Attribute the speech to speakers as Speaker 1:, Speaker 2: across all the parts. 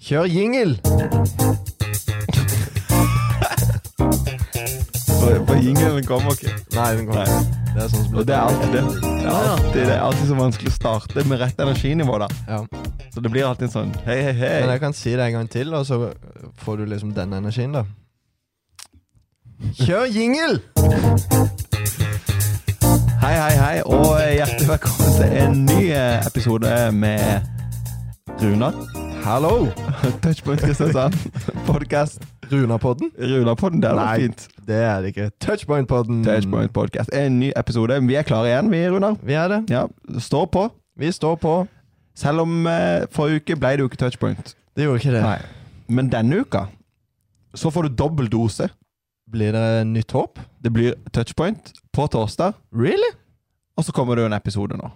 Speaker 1: Kjør jingle!
Speaker 2: For, for jingelen kommer ikke.
Speaker 1: Nei, den kommer
Speaker 2: Nei.
Speaker 1: ikke. Det er sånn som
Speaker 2: Og det er alltid det. Det er
Speaker 1: Ja, ja.
Speaker 2: alltid, det er alltid så vanskelig å starte med rett energinivå, da.
Speaker 1: Ja.
Speaker 2: Så det blir alltid sånn hei, hei,
Speaker 1: Men
Speaker 2: hei.
Speaker 1: jeg kan si det en gang til, og så får du liksom den energien, da. Kjør jingle!
Speaker 2: Hei, hei, hei, og eh, hjertelig velkommen til en ny eh, episode med Runar.
Speaker 1: Hallo!
Speaker 2: Touchpoint Kristiansand. Podkast
Speaker 1: Runapodden?
Speaker 2: Runarpodden. Det hadde
Speaker 1: Nei.
Speaker 2: vært fint.
Speaker 1: Det er det ikke. Touchpoint-podden.
Speaker 2: Touchpoint podcast. En ny episode. Vi er klare igjen, vi, Runar.
Speaker 1: Vi er det.
Speaker 2: Ja, Står på.
Speaker 1: Vi står på.
Speaker 2: Selv om eh, forrige uke ble det jo ikke touchpoint.
Speaker 1: Det gjorde ikke det.
Speaker 2: Nei. Men denne uka så får du dobbel dose.
Speaker 1: Blir det nytt håp?
Speaker 2: Det blir touchpoint på torsdag,
Speaker 1: Really?
Speaker 2: og så kommer det jo en episode nå.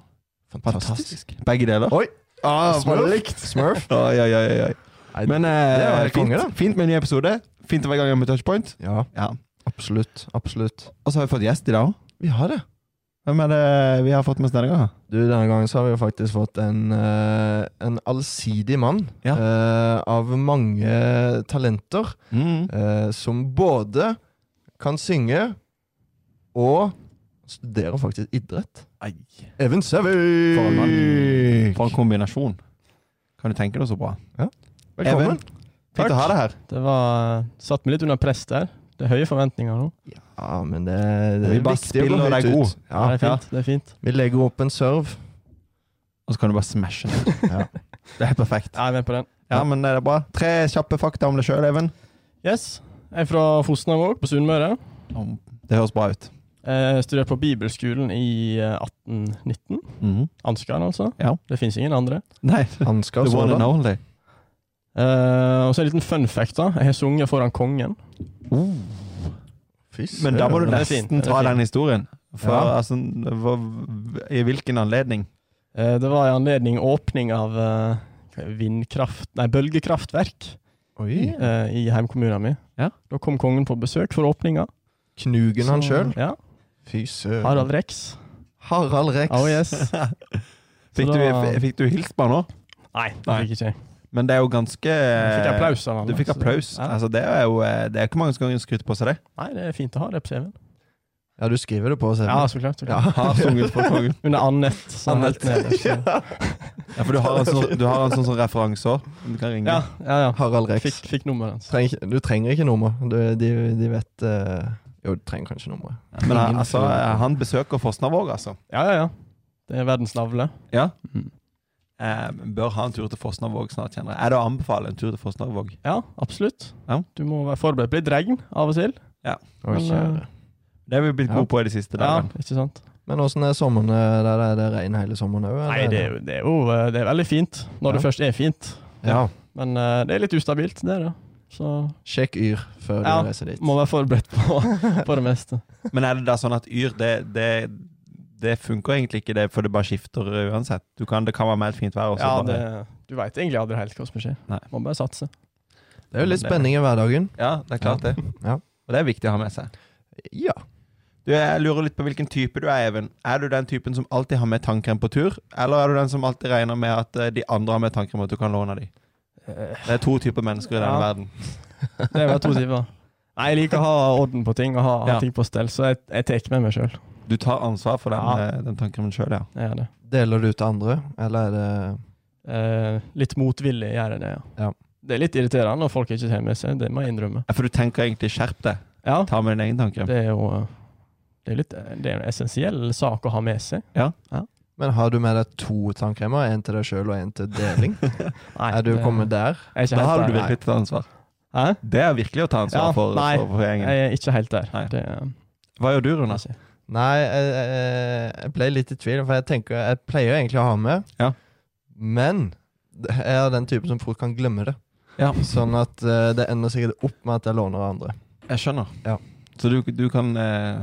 Speaker 2: Begge deler.
Speaker 1: Oi!
Speaker 2: Ah,
Speaker 1: Smurf.
Speaker 2: bare likt.
Speaker 1: Smurf.
Speaker 2: Oi, oi, oi, oi.
Speaker 1: Nei,
Speaker 2: Men eh,
Speaker 1: det er jo helt konge, da.
Speaker 2: fint, fint med en ny episode. Fint å være i gang med touchpoint.
Speaker 1: Ja,
Speaker 2: Ja.
Speaker 1: absolutt. Absolutt.
Speaker 2: Og så har vi fått gjest i dag òg.
Speaker 1: Vi har det.
Speaker 2: Hvem er det vi har fått med oss denne gangen?
Speaker 1: Du, Denne gangen så har vi jo faktisk fått en, eh, en allsidig mann
Speaker 2: Ja.
Speaker 1: eh, av mange talenter.
Speaker 2: Mm.
Speaker 1: eh, som både kan synge og studerer faktisk idrett. Even
Speaker 2: For en
Speaker 1: Sævik!
Speaker 2: For en kombinasjon. Kan du tenke deg så bra?
Speaker 1: Velkommen.
Speaker 2: Even, Fint å ha deg her.
Speaker 3: Det var eh, Satt meg litt under press der. Det er høye forventninger nå.
Speaker 1: Ja, men det, det
Speaker 2: Vi
Speaker 1: er viktig å
Speaker 2: bare
Speaker 1: gå
Speaker 2: spiller
Speaker 1: høyt
Speaker 2: deg god.
Speaker 1: ut. Ja,
Speaker 3: det er fint. det er fint.
Speaker 1: Vi legger opp en serve.
Speaker 2: Og så kan du bare smashe den.
Speaker 1: Ja.
Speaker 2: Det er perfekt.
Speaker 3: Jeg er med på den.
Speaker 2: Ja, men det er bra. Tre kjappe fakta om deg sjøl, Even.
Speaker 3: Yes. Jeg er fra Fosnavåg på Sunnmøre.
Speaker 2: Om- Det høres bra ut.
Speaker 3: Eh, Studerte på Bibelskolen i eh, 1819.
Speaker 2: Mm.
Speaker 3: Ansgarn, altså.
Speaker 2: Ja.
Speaker 3: Det fins ingen andre.
Speaker 2: Nei,
Speaker 1: Hansker
Speaker 2: the one and
Speaker 1: sådan.
Speaker 2: only.
Speaker 3: Eh, og så en liten fun fact. da. Jeg har sunget foran kongen.
Speaker 1: Fy søren.
Speaker 2: Men da må du
Speaker 3: Det er fint,
Speaker 2: nesten
Speaker 3: det er
Speaker 2: ta
Speaker 3: fint.
Speaker 2: den historien. For
Speaker 1: Ja.
Speaker 2: altså, hva- I hvilken anledning?
Speaker 3: Eh, det var i anledning åpning av eh, hva er det, vindkraft Nei, bølgekraftverk
Speaker 1: Oi.
Speaker 3: eh, i heimkommunen min.
Speaker 2: Ja.
Speaker 3: Da kom kongen på besøk for åpninga.
Speaker 1: Knugen han
Speaker 3: Så-
Speaker 1: sjøl.
Speaker 3: Ja.
Speaker 1: Fy søren.
Speaker 3: Harald Rex.
Speaker 1: Harald Rex.
Speaker 3: Oh yes.
Speaker 2: Fikk du,
Speaker 3: da-
Speaker 2: f- fikk du hilst på han òg?
Speaker 3: Nei, det
Speaker 2: Nei.
Speaker 3: fikk ikke jeg.
Speaker 2: Men det er jo ganske
Speaker 3: Jeg Fikk applaus av han.
Speaker 2: Du fikk
Speaker 3: altså.
Speaker 2: applaus.
Speaker 3: Ja.
Speaker 2: Altså, det er jo eh, Det er ikke mange som kan skryte på seg det.
Speaker 3: Nei, det er fint å ha det på CV-en.
Speaker 1: Ja, du skriver det på cv
Speaker 3: Ja, så klart. Så klart.
Speaker 2: Har sunget for kongen.
Speaker 3: Under Annett. Så
Speaker 1: Annett.
Speaker 3: Helt nederst. Ja,
Speaker 2: Ja, for du har en sånn, du har en sånn, sånn referanse òg. Du kan ringe.
Speaker 3: ja. ja,
Speaker 1: Harald Rex.
Speaker 3: Fikk, fikk nummeret hans.
Speaker 1: Treng, du trenger ikke nummer. Du, de, de vet eh, Jo, du trenger kanskje nummeret.
Speaker 2: Men eh,
Speaker 1: Ingen
Speaker 2: altså,
Speaker 1: får-
Speaker 2: eh, han besøker Fosnavåg, altså.
Speaker 3: Ja, ja, ja. Det er verdens navle.
Speaker 2: Ja.
Speaker 3: Mhm.
Speaker 2: Eh, bør ha en tur til Fosnavåg snart, kjenner jeg. Er det å anbefale en tur til Fosnavåg?
Speaker 3: Ja, absolutt.
Speaker 2: Ja.
Speaker 3: Du må være forberedt på litt regn av og til.
Speaker 1: Å,
Speaker 3: Men, eh,
Speaker 1: kjære.
Speaker 2: Det har vi blitt
Speaker 1: Ja.
Speaker 2: gode på i det siste.
Speaker 3: Ja,
Speaker 2: Der.
Speaker 3: ikke sant?
Speaker 1: Men åssen er sommerne der? Er det regn hele sommeren òg?
Speaker 3: Nei, det er jo, det er jo eh, det er veldig fint. Når
Speaker 1: Ja.
Speaker 3: det først er fint.
Speaker 1: Ja.
Speaker 3: Men eh, det er litt ustabilt, det er det. Så
Speaker 1: Sjekk Yr før
Speaker 3: Ja,
Speaker 1: du reiser dit.
Speaker 3: må være forberedt på, på det meste.
Speaker 2: Men er det da sånn at Yr, det, det, det funker egentlig ikke, det, for det bare skifter eh, uansett? Du kan, det kan være meldt fint vær. Og så
Speaker 3: Ja, det,
Speaker 2: bare,
Speaker 3: du veit egentlig aldri helt hva som skjer.
Speaker 2: Nei.
Speaker 3: Må bare satse.
Speaker 1: Det er jo litt
Speaker 2: Det-
Speaker 1: spenning i hverdagen.
Speaker 2: ja, det er klart det.
Speaker 1: Ja.
Speaker 2: Og det er viktig å ha med seg.
Speaker 1: Ja.
Speaker 2: Du, jeg lurer litt på hvilken type du er, Even. Er du den typen som alltid har med tannkrem på tur, eller er du den som alltid regner med at eh, de andre har med tannkrem, og at du kan låne de?
Speaker 3: Eh,
Speaker 2: Det er to typer mennesker i denne
Speaker 3: Ja.
Speaker 2: verden.
Speaker 3: Det var to timer. Nei, jeg liker å ha orden på ting og ha, ha
Speaker 2: Ja.
Speaker 3: ting på stell, så jeg, jeg tar med meg sjøl.
Speaker 2: Du tar ansvar for den,
Speaker 3: Ja.
Speaker 2: eh, den tannkremen sjøl, ja.
Speaker 3: Jeg gjør det.
Speaker 1: Deler du til andre, eller er det
Speaker 3: Eh, litt motvillig gjør jeg det, ja.
Speaker 1: Ja.
Speaker 3: Det er litt irriterende når folk ikke tar med seg, det må jeg innrømme.
Speaker 2: Ja, For du tenker egentlig 'skjerp deg',
Speaker 3: Ja,
Speaker 2: ta med din egen tannkrem.
Speaker 3: det er jo eh, det er, litt, det er en essensiell sak å ha med seg.
Speaker 1: Men har du med deg to tannkremer? En til deg sjøl og en til deling?
Speaker 3: Nei,
Speaker 1: er du
Speaker 3: det-
Speaker 1: kommet der?
Speaker 3: Jeg er
Speaker 2: Da
Speaker 3: ikke helt
Speaker 2: har du
Speaker 3: der.
Speaker 2: virkelig tatt ansvar.
Speaker 3: Hæ?
Speaker 2: Det er virkelig å ta ansvar
Speaker 3: Ja,
Speaker 2: for,
Speaker 3: nei.
Speaker 2: for, for gjengen.
Speaker 3: Jeg er ikke helt der.
Speaker 2: Nei.
Speaker 3: Det, eh,
Speaker 2: Hva gjør du,
Speaker 3: må
Speaker 2: Rune?
Speaker 3: jeg si.
Speaker 1: Nei, jeg, jeg, jeg ble litt i tvil, for jeg tenker jeg pleier egentlig å ha med.
Speaker 2: Ja.
Speaker 1: Men jeg er den typen som fort kan glemme det.
Speaker 2: Ja.
Speaker 1: Sånn at eh, det ender sikkert opp med at jeg låner av andre.
Speaker 2: Jeg skjønner.
Speaker 1: Ja.
Speaker 2: Så du, du kan eh,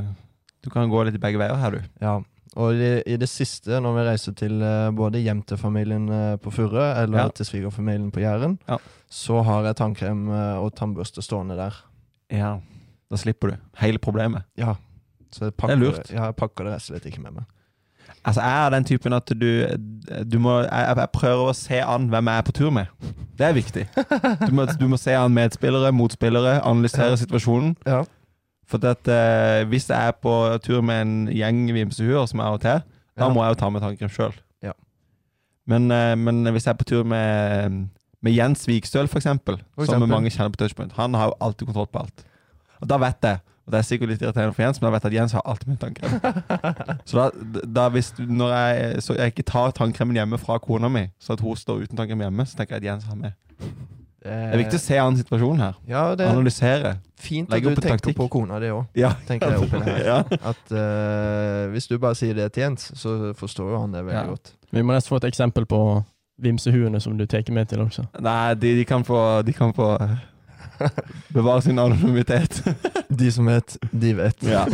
Speaker 2: Du kan gå litt begge veier her, du.
Speaker 1: Ja, og i, i det siste, når vi reiser til eh, både hjem til familien eh, på Furre eller
Speaker 2: Ja.
Speaker 1: til svigerfamilien på Jæren,
Speaker 2: Ja.
Speaker 1: så har jeg tannkrem eh, og tannbørste stående der.
Speaker 2: Ja. Da slipper du hele problemet.
Speaker 1: Ja, så jeg
Speaker 2: Det
Speaker 1: pakker,
Speaker 2: er lurt.
Speaker 1: Ja, jeg pakker det rett og slett ikke med meg.
Speaker 2: Altså, jeg er den typen at du, du må jeg, jeg prøver å se an hvem jeg er på tur med. Det er viktig. Du må, du må se an medspillere, motspillere, analysere situasjonen.
Speaker 1: Ja.
Speaker 2: For at, eh, hvis jeg er på tur med en gjeng vimsehuer, som jeg av og til, da
Speaker 1: Ja.
Speaker 2: må jeg jo ta med tannkrem sjøl.
Speaker 1: Ja.
Speaker 2: Men, eh, men hvis jeg er på tur med, med Jens Vikstøl, for eksempel,
Speaker 1: For
Speaker 2: som
Speaker 1: eksempel.
Speaker 2: mange kjenner på touchpoint, han har jo alltid kontroll på alt. Og da vet jeg, og det er sikkert litt irriterende for Jens, men da vet jeg at Jens har alltid min
Speaker 1: Eh,
Speaker 2: tannkrem. så da, da hvis du, når jeg, så jeg ikke tar tannkremen hjemme fra kona mi, så at hun står uten tannkrem hjemme, så tenker jeg at Jens har med. Det er viktig å se an situasjonen her.
Speaker 1: Ja, det er
Speaker 2: Analysere.
Speaker 1: fint at
Speaker 2: legge
Speaker 1: du
Speaker 2: opp en
Speaker 1: tenker
Speaker 2: taktikk.
Speaker 1: på kona di òg,
Speaker 2: Ja.
Speaker 1: tenker jeg oppi det her.
Speaker 2: ja.
Speaker 1: At eh, hvis du bare sier det til Jens, så forstår jo han det veldig
Speaker 2: Ja.
Speaker 1: godt.
Speaker 3: Vi må nesten få et eksempel på vimsehuene som du tar med til også.
Speaker 2: Nei, de, de kan få, de kan få eh, bevare sin anonymitet.
Speaker 1: De som vet, de vet.
Speaker 2: Ja.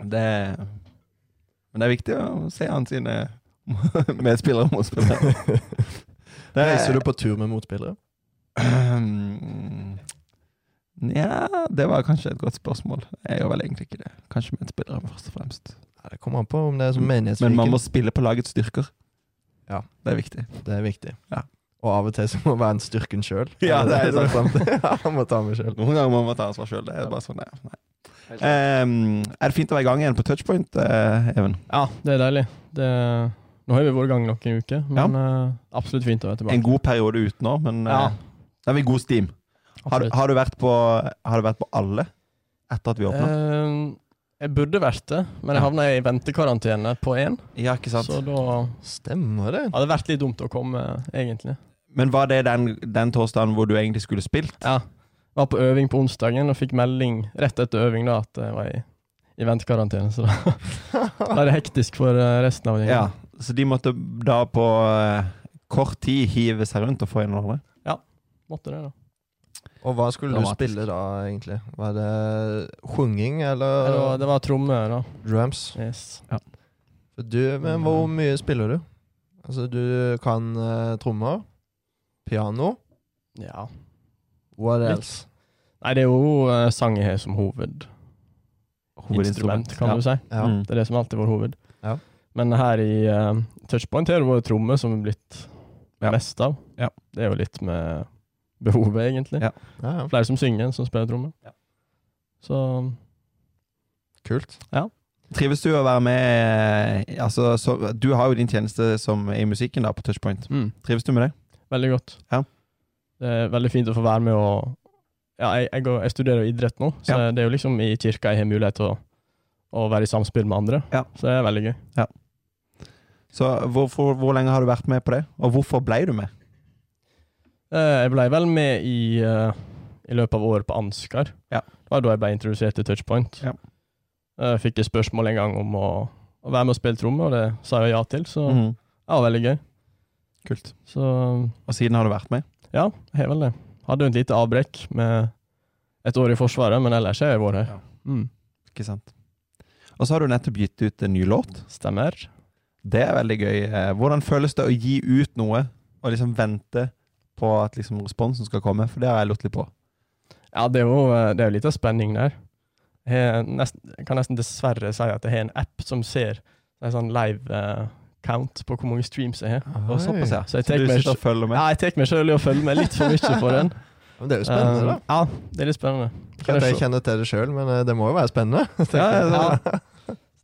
Speaker 2: det Men det er viktig å se han sine medspillere og motspillere. Det er-
Speaker 1: Reiser du på tur med motspillere?
Speaker 2: Nja, det var kanskje et godt spørsmål. Jeg gjør vel egentlig ikke det. Kanskje medspillere, først og fremst.
Speaker 1: Ja, det kommer an på om det er som
Speaker 2: Mm. Men man må
Speaker 1: menighetsviken.
Speaker 2: spille på lagets styrker.
Speaker 1: Ja.
Speaker 2: Det er viktig.
Speaker 1: Det er viktig.
Speaker 2: Ja.
Speaker 1: Og av og til så må være en styrken sjøl.
Speaker 2: Ja, det er sant.
Speaker 1: ja, han må ta med sjøl.
Speaker 2: Noen ganger må man ta ansvar sjøl. Det er bare sånn det er. Nei. Ehm, er det fint å være i gang igjen på touchpoint, eh, Even?
Speaker 3: Ja, det er deilig. Det, nå har vi vært i gang noen uker, men eh, absolutt fint å være tilbake.
Speaker 2: En god periode uten nå, men eh,
Speaker 3: Ja.
Speaker 2: da er vi i god steam. Har, du-
Speaker 3: absolutt.
Speaker 2: har, du vært på, har du vært på alle etter at vi åpna?
Speaker 3: Eh, jeg burde vært det, men jeg
Speaker 2: Ja.
Speaker 3: havna i ventekarantene på én,
Speaker 2: ja, ikke sant.
Speaker 3: Eh, så da
Speaker 1: Stemmer det.
Speaker 3: hadde det vært litt dumt å komme, egentlig.
Speaker 2: Men var det den, den torsdagen hvor du egentlig skulle spilt?
Speaker 3: Ja. Var på øving på onsdagen og fikk melding rett etter øving da at jeg var i, i ventekarantene. Så da da er det hektisk for eh, resten av gjengen.
Speaker 2: Så de måtte da på eh, kort tid hive seg rundt og få inn hverandre?
Speaker 3: Måtte det, da.
Speaker 1: Og hva skulle du
Speaker 2: Dramatisk.
Speaker 1: spille da, egentlig? Var det sjunging
Speaker 3: Nei, Det
Speaker 1: eller
Speaker 3: var, det var tromme, da.
Speaker 1: drums?
Speaker 3: Yes.
Speaker 1: Du, men hvor mye spiller du? Altså, du kan eh, trommer, piano,
Speaker 3: Ja.
Speaker 1: what
Speaker 3: Litt.
Speaker 1: else?
Speaker 3: Nei, det er jo eh, sang jeg har som hovedinstrument, kan du si.
Speaker 1: Ja.
Speaker 2: Mm.
Speaker 3: Det er det som alltid er vår hoved.
Speaker 1: Ja.
Speaker 3: Men her i eh, touchpoint har det vært tromme som er blitt
Speaker 2: Ja.
Speaker 3: mest av.
Speaker 2: Ja.
Speaker 3: Det er jo litt med behovet, egentlig.
Speaker 2: Ja.
Speaker 1: Ja, ja.
Speaker 3: Flere som synger enn som spiller tromme.
Speaker 2: Ja.
Speaker 3: Så
Speaker 1: Kult.
Speaker 2: Trives du å være med eh, altså, så, Du har jo din tjeneste som, i musikken da på touchpoint.
Speaker 3: mm.
Speaker 2: Trives du med det?
Speaker 3: Veldig godt.
Speaker 2: Ja.
Speaker 3: Det er veldig fint å få være med og Ja, jeg, jeg, går, jeg studerer jo idrett nå, så det er jo liksom i kirka jeg har mulighet til å, å være i samspill med andre.
Speaker 2: Ja.
Speaker 3: Så det er veldig gøy.
Speaker 2: Så hvorfor, Hvor lenge har du vært med på det, og hvorfor ble du med?
Speaker 3: Eh, Jeg ble vel med i eh, i løpet av året på Ansgar.
Speaker 2: Ja.
Speaker 3: Det var da jeg ble introdusert til Touchpoint.
Speaker 2: Ja.
Speaker 3: Eh, Fikk et spørsmål en gang om å, å være med og spille tromme, og det sa jeg ja til, så
Speaker 2: Mhm.
Speaker 3: det var veldig gøy.
Speaker 2: Kult.
Speaker 3: Så
Speaker 2: Og siden har du vært med?
Speaker 3: ja, jeg har vel det. Hadde jo et lite avbrekk med et år i Forsvaret, men ellers har jeg vært her.
Speaker 2: Ja.
Speaker 3: Mm.
Speaker 2: Ikke sant. Og så har du nettopp gitt ut en ny låt.
Speaker 3: Stemmer.
Speaker 2: Det er veldig gøy. Eh, Hvordan føles det å gi ut noe og liksom vente på at liksom responsen skal komme? For det har jeg lurt litt på.
Speaker 3: Ja, det er jo, eh, det er jo litt av spenning der. Jeg, har nesten, jeg kan nesten dessverre si at jeg har en app som ser en sånn live eh, count på hvor mange streams jeg har.
Speaker 2: Og såpass, ja.
Speaker 3: Så jeg
Speaker 2: Så
Speaker 3: tar
Speaker 2: du
Speaker 3: meg-
Speaker 2: sitter og følger med.
Speaker 3: Ja, jeg tar meg sjøl i å følge med litt for mye på den.
Speaker 1: Men det er jo spennende,
Speaker 3: Eh, ja, det er litt spennende.
Speaker 1: da. Ikke at jeg kjenner til det sjøl, men eh, det må jo være spennende.
Speaker 2: Ja, ja, ja.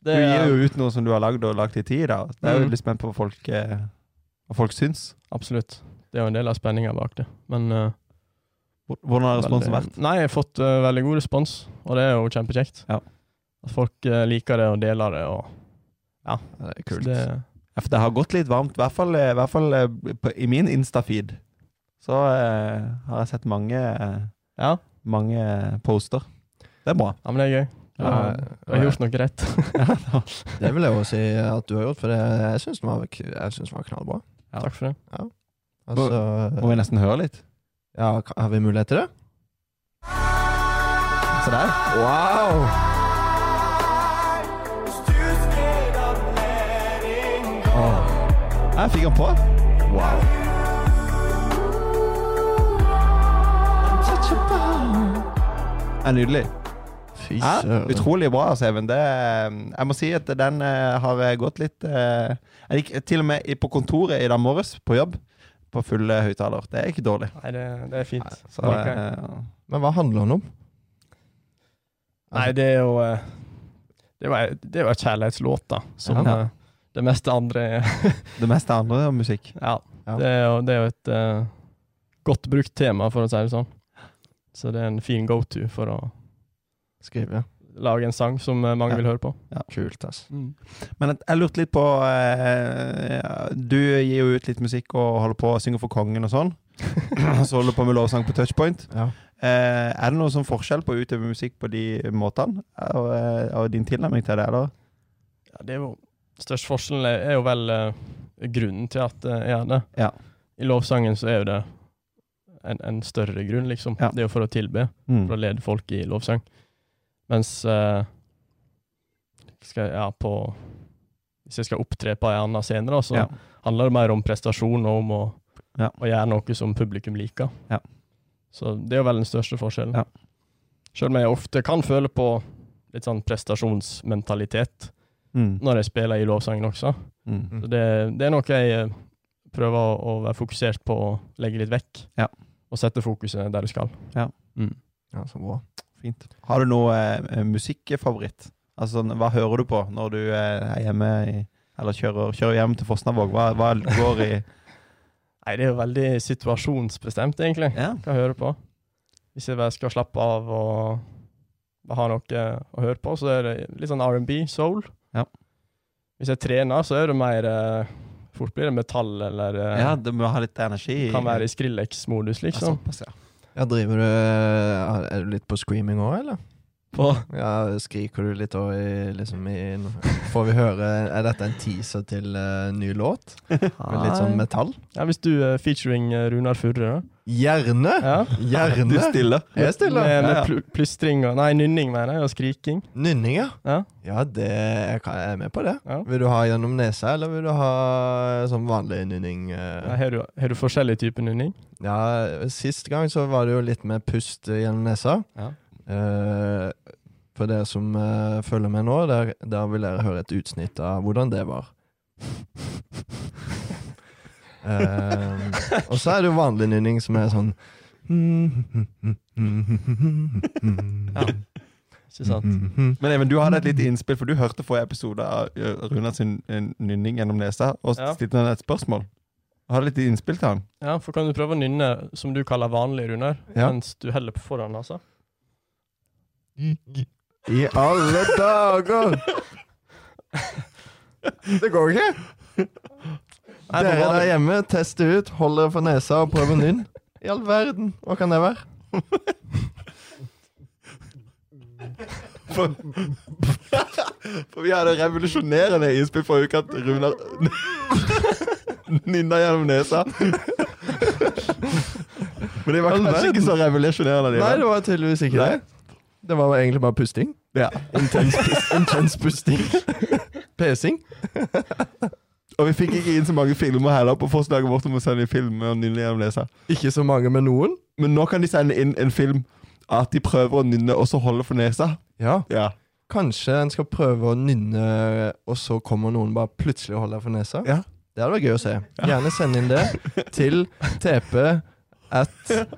Speaker 2: Du
Speaker 3: Det,
Speaker 2: gir
Speaker 3: er-
Speaker 2: jo ut noe som du har lagd og lagt i tid. Da. Det er jo
Speaker 3: Mhm.
Speaker 2: litt spent på hva folk, eh, hva folk syns.
Speaker 3: eh, absolutt. Det er jo en del av spenninga bak det. Men eh,
Speaker 2: Hvor- Hvordan har responsen
Speaker 3: veldig-
Speaker 2: vært?
Speaker 3: Nei, jeg har fått eh, veldig god respons, og det er jo kjempekjekt.
Speaker 2: Ja.
Speaker 3: At folk eh, liker det og deler det. Og,
Speaker 1: Ja, det er
Speaker 3: så
Speaker 1: kult.
Speaker 3: det,
Speaker 2: Ja, for det har gått litt varmt, i hvert fall, eh, i, hvert fall eh, på, i min Insta-feed. Så eh, har jeg sett mange, eh,
Speaker 3: ja.
Speaker 2: mange poster. Det er bra.
Speaker 3: ja, men det er gøy. Du
Speaker 1: Ja,
Speaker 3: har- du har gjort noe rett.
Speaker 1: Det vil jeg òg si at du har gjort, for det, jeg syns den, var- jeg synes den var knallbra.
Speaker 2: Ja.
Speaker 3: Takk for det.
Speaker 1: Altså,
Speaker 2: Må vi nesten høre litt?
Speaker 1: ja, har vi mulighet til det?
Speaker 2: Se der.
Speaker 1: Wow!
Speaker 2: Jeg fikk han på. Wow. Det er nydelig.
Speaker 1: Fy
Speaker 2: Ja,
Speaker 1: søren.
Speaker 2: Utrolig bra, altså, Even. Det, eh, jeg må si at den eh, har gått litt eh, Jeg gikk til og med i- på kontoret i dag morges, på jobb, på full eh, høyttaler. Det er ikke dårlig.
Speaker 3: Nei, det, det er fint.
Speaker 2: Så,
Speaker 3: Ok.
Speaker 2: eh,
Speaker 1: Men hva handler den om? Altså,
Speaker 3: Nei, det er jo eh, Det var, det var kjærlighetslåt, da. Som
Speaker 2: Ja.
Speaker 3: eh, det meste andre er.
Speaker 2: det meste andre er musikk.
Speaker 3: ja.
Speaker 1: Ja.
Speaker 3: Det, er jo, det er jo et eh, godt brukt tema, for å si det sånn. Så det er en fin go to for å
Speaker 1: Skrive.
Speaker 3: lage en sang som eh, mange
Speaker 2: Ja. Mm.
Speaker 3: vil høre på.
Speaker 1: Kult, ass.
Speaker 2: Men at jeg lurte litt på eh, Du gir jo ut litt musikk og holder på å synge for kongen og sånn. Og så holder du på med lovsang på touchpoint.
Speaker 1: Ja.
Speaker 2: Eh, er det noen sånn forskjell på å utøve musikk på de måtene? Og, eh, og din tilnærming til det, eller?
Speaker 3: Ja, det er jo Størst forskjellen er, er jo vel eh, grunnen til at eh, jeg gjør det.
Speaker 2: Ja.
Speaker 3: I lovsangen så er jo det en, en større grunn, liksom.
Speaker 2: Ja.
Speaker 3: Det er jo for å tilbe,
Speaker 2: Mm.
Speaker 3: for å lede folk i lovsang. Mens eh, skal, jeg- ja, på Hvis jeg skal opptre på en annen scene, da, så
Speaker 2: Ja.
Speaker 3: handler det mer om prestasjon og om å,
Speaker 2: Ja.
Speaker 3: å gjøre noe som publikum liker.
Speaker 2: Ja.
Speaker 3: Så det er jo vel den største forskjellen.
Speaker 2: Ja.
Speaker 3: Selv om jeg ofte kan føle på litt sånn prestasjonsmentalitet
Speaker 2: Mm.
Speaker 3: når jeg spiller i lovsangen også.
Speaker 2: Mm.
Speaker 3: Så det, det er noe jeg eh, prøver å, å være fokusert på å legge litt vekk.
Speaker 2: Ja.
Speaker 3: Og sette fokuset der du skal.
Speaker 1: Ja, så bra.
Speaker 2: Fint. Har du noe eh, musikkfavoritt? Altså, sånn, hva hører du på når du eh, er hjemme i, eller kjører, kjører hjem til Fosnavåg? Hva, hva går i
Speaker 3: Nei, det er jo veldig situasjonsbestemt, egentlig.
Speaker 2: ja.
Speaker 3: Hva jeg hører på. Hvis jeg bare skal slappe av og bare ha noe å høre på, så er det litt sånn R&B, soul.
Speaker 2: Ja.
Speaker 3: Hvis jeg trener, så er det mer eh, Fort blir det metall, eller eh,
Speaker 2: ja, du må ha litt energi. i-
Speaker 3: kan være i Skrillex-modus,
Speaker 2: Ja,
Speaker 3: liksom.
Speaker 2: såpass, ja.
Speaker 1: Ja, driver du eh, Er du litt på screaming òg, eller?
Speaker 3: På,
Speaker 1: Ja, Skriker du litt òg i, liksom i Får vi høre Er dette en teaser til eh, ny låt? Med litt sånn metall?
Speaker 3: ja, hvis du er featuring eh, Runar Furre,
Speaker 1: Gjerne!
Speaker 3: da. Ja.
Speaker 2: Du
Speaker 1: Gjerne!
Speaker 2: stiller.
Speaker 1: Jeg stiller.
Speaker 3: Med,
Speaker 2: Ja,
Speaker 3: med
Speaker 2: ja.
Speaker 3: pl plystring og Nei, nynning, mener jeg, og skriking.
Speaker 1: Nynning, ja.
Speaker 3: Ja.
Speaker 1: Ja, det jeg kan- jeg er med på det.
Speaker 3: Ja.
Speaker 1: Vil du ha gjennom nesa, eller vil du ha eh, som vanlig nynning? eh?
Speaker 3: Har, du, har du forskjellig type nynning?
Speaker 1: Ja, sist gang så var det jo litt med pust gjennom nesa.
Speaker 3: Ja.
Speaker 1: Eh, for dere som eh, følger med nå, der, der vil dere høre et utsnitt av hvordan det var.
Speaker 2: Ehm,
Speaker 1: Eh, og så er det jo vanlig nynning som er sånn
Speaker 3: Ikke sant?
Speaker 2: mm. Men Even, du hadde et
Speaker 1: Mm.
Speaker 2: lite innspill, for du hørte forrige episode av eh, Runar sin eh, nynning gjennom nesa, og
Speaker 3: Ja.
Speaker 2: stilte han et spørsmål. Har du litt innspill til han?
Speaker 3: Ja, for kan du prøve å nynne som du kaller vanlig, Runar,
Speaker 1: Ja.
Speaker 3: mens du heller på foran, altså?
Speaker 1: I alle dager! Det går ikke.
Speaker 3: Nei, på
Speaker 1: Dere der
Speaker 3: vanlig.
Speaker 1: hjemme, test det ut. Hold dere for nesa og prøv en nynn. I all verden. Hva kan det være?
Speaker 2: For, for vi hadde revolusjonerende innspill forrige uke at Runar nynna gjennom nesa. Men det var
Speaker 1: All
Speaker 2: kanskje
Speaker 1: verden.
Speaker 2: ikke så revolusjonerende.
Speaker 1: Nei,
Speaker 2: likevel.
Speaker 1: det var tydeligvis ikke det. Det var egentlig bare pusting.
Speaker 2: Ja.
Speaker 1: Intens, pus- intens pusting. Pesing.
Speaker 2: Og vi fikk ikke inn så mange filmer heller på forslaget vårt om å sende inn film med å nynne gjennom nesa.
Speaker 1: Ikke så mange med noen.
Speaker 2: Men nå kan de sende inn en film at de prøver å nynne og så holde for nesa.
Speaker 1: Ja,
Speaker 2: Ja.
Speaker 1: Kanskje en skal prøve å nynne, og så kommer noen bare plutselig og holder deg for nesa?
Speaker 2: Ja.
Speaker 1: Det hadde vært gøy å se. Gjerne send inn det til tp at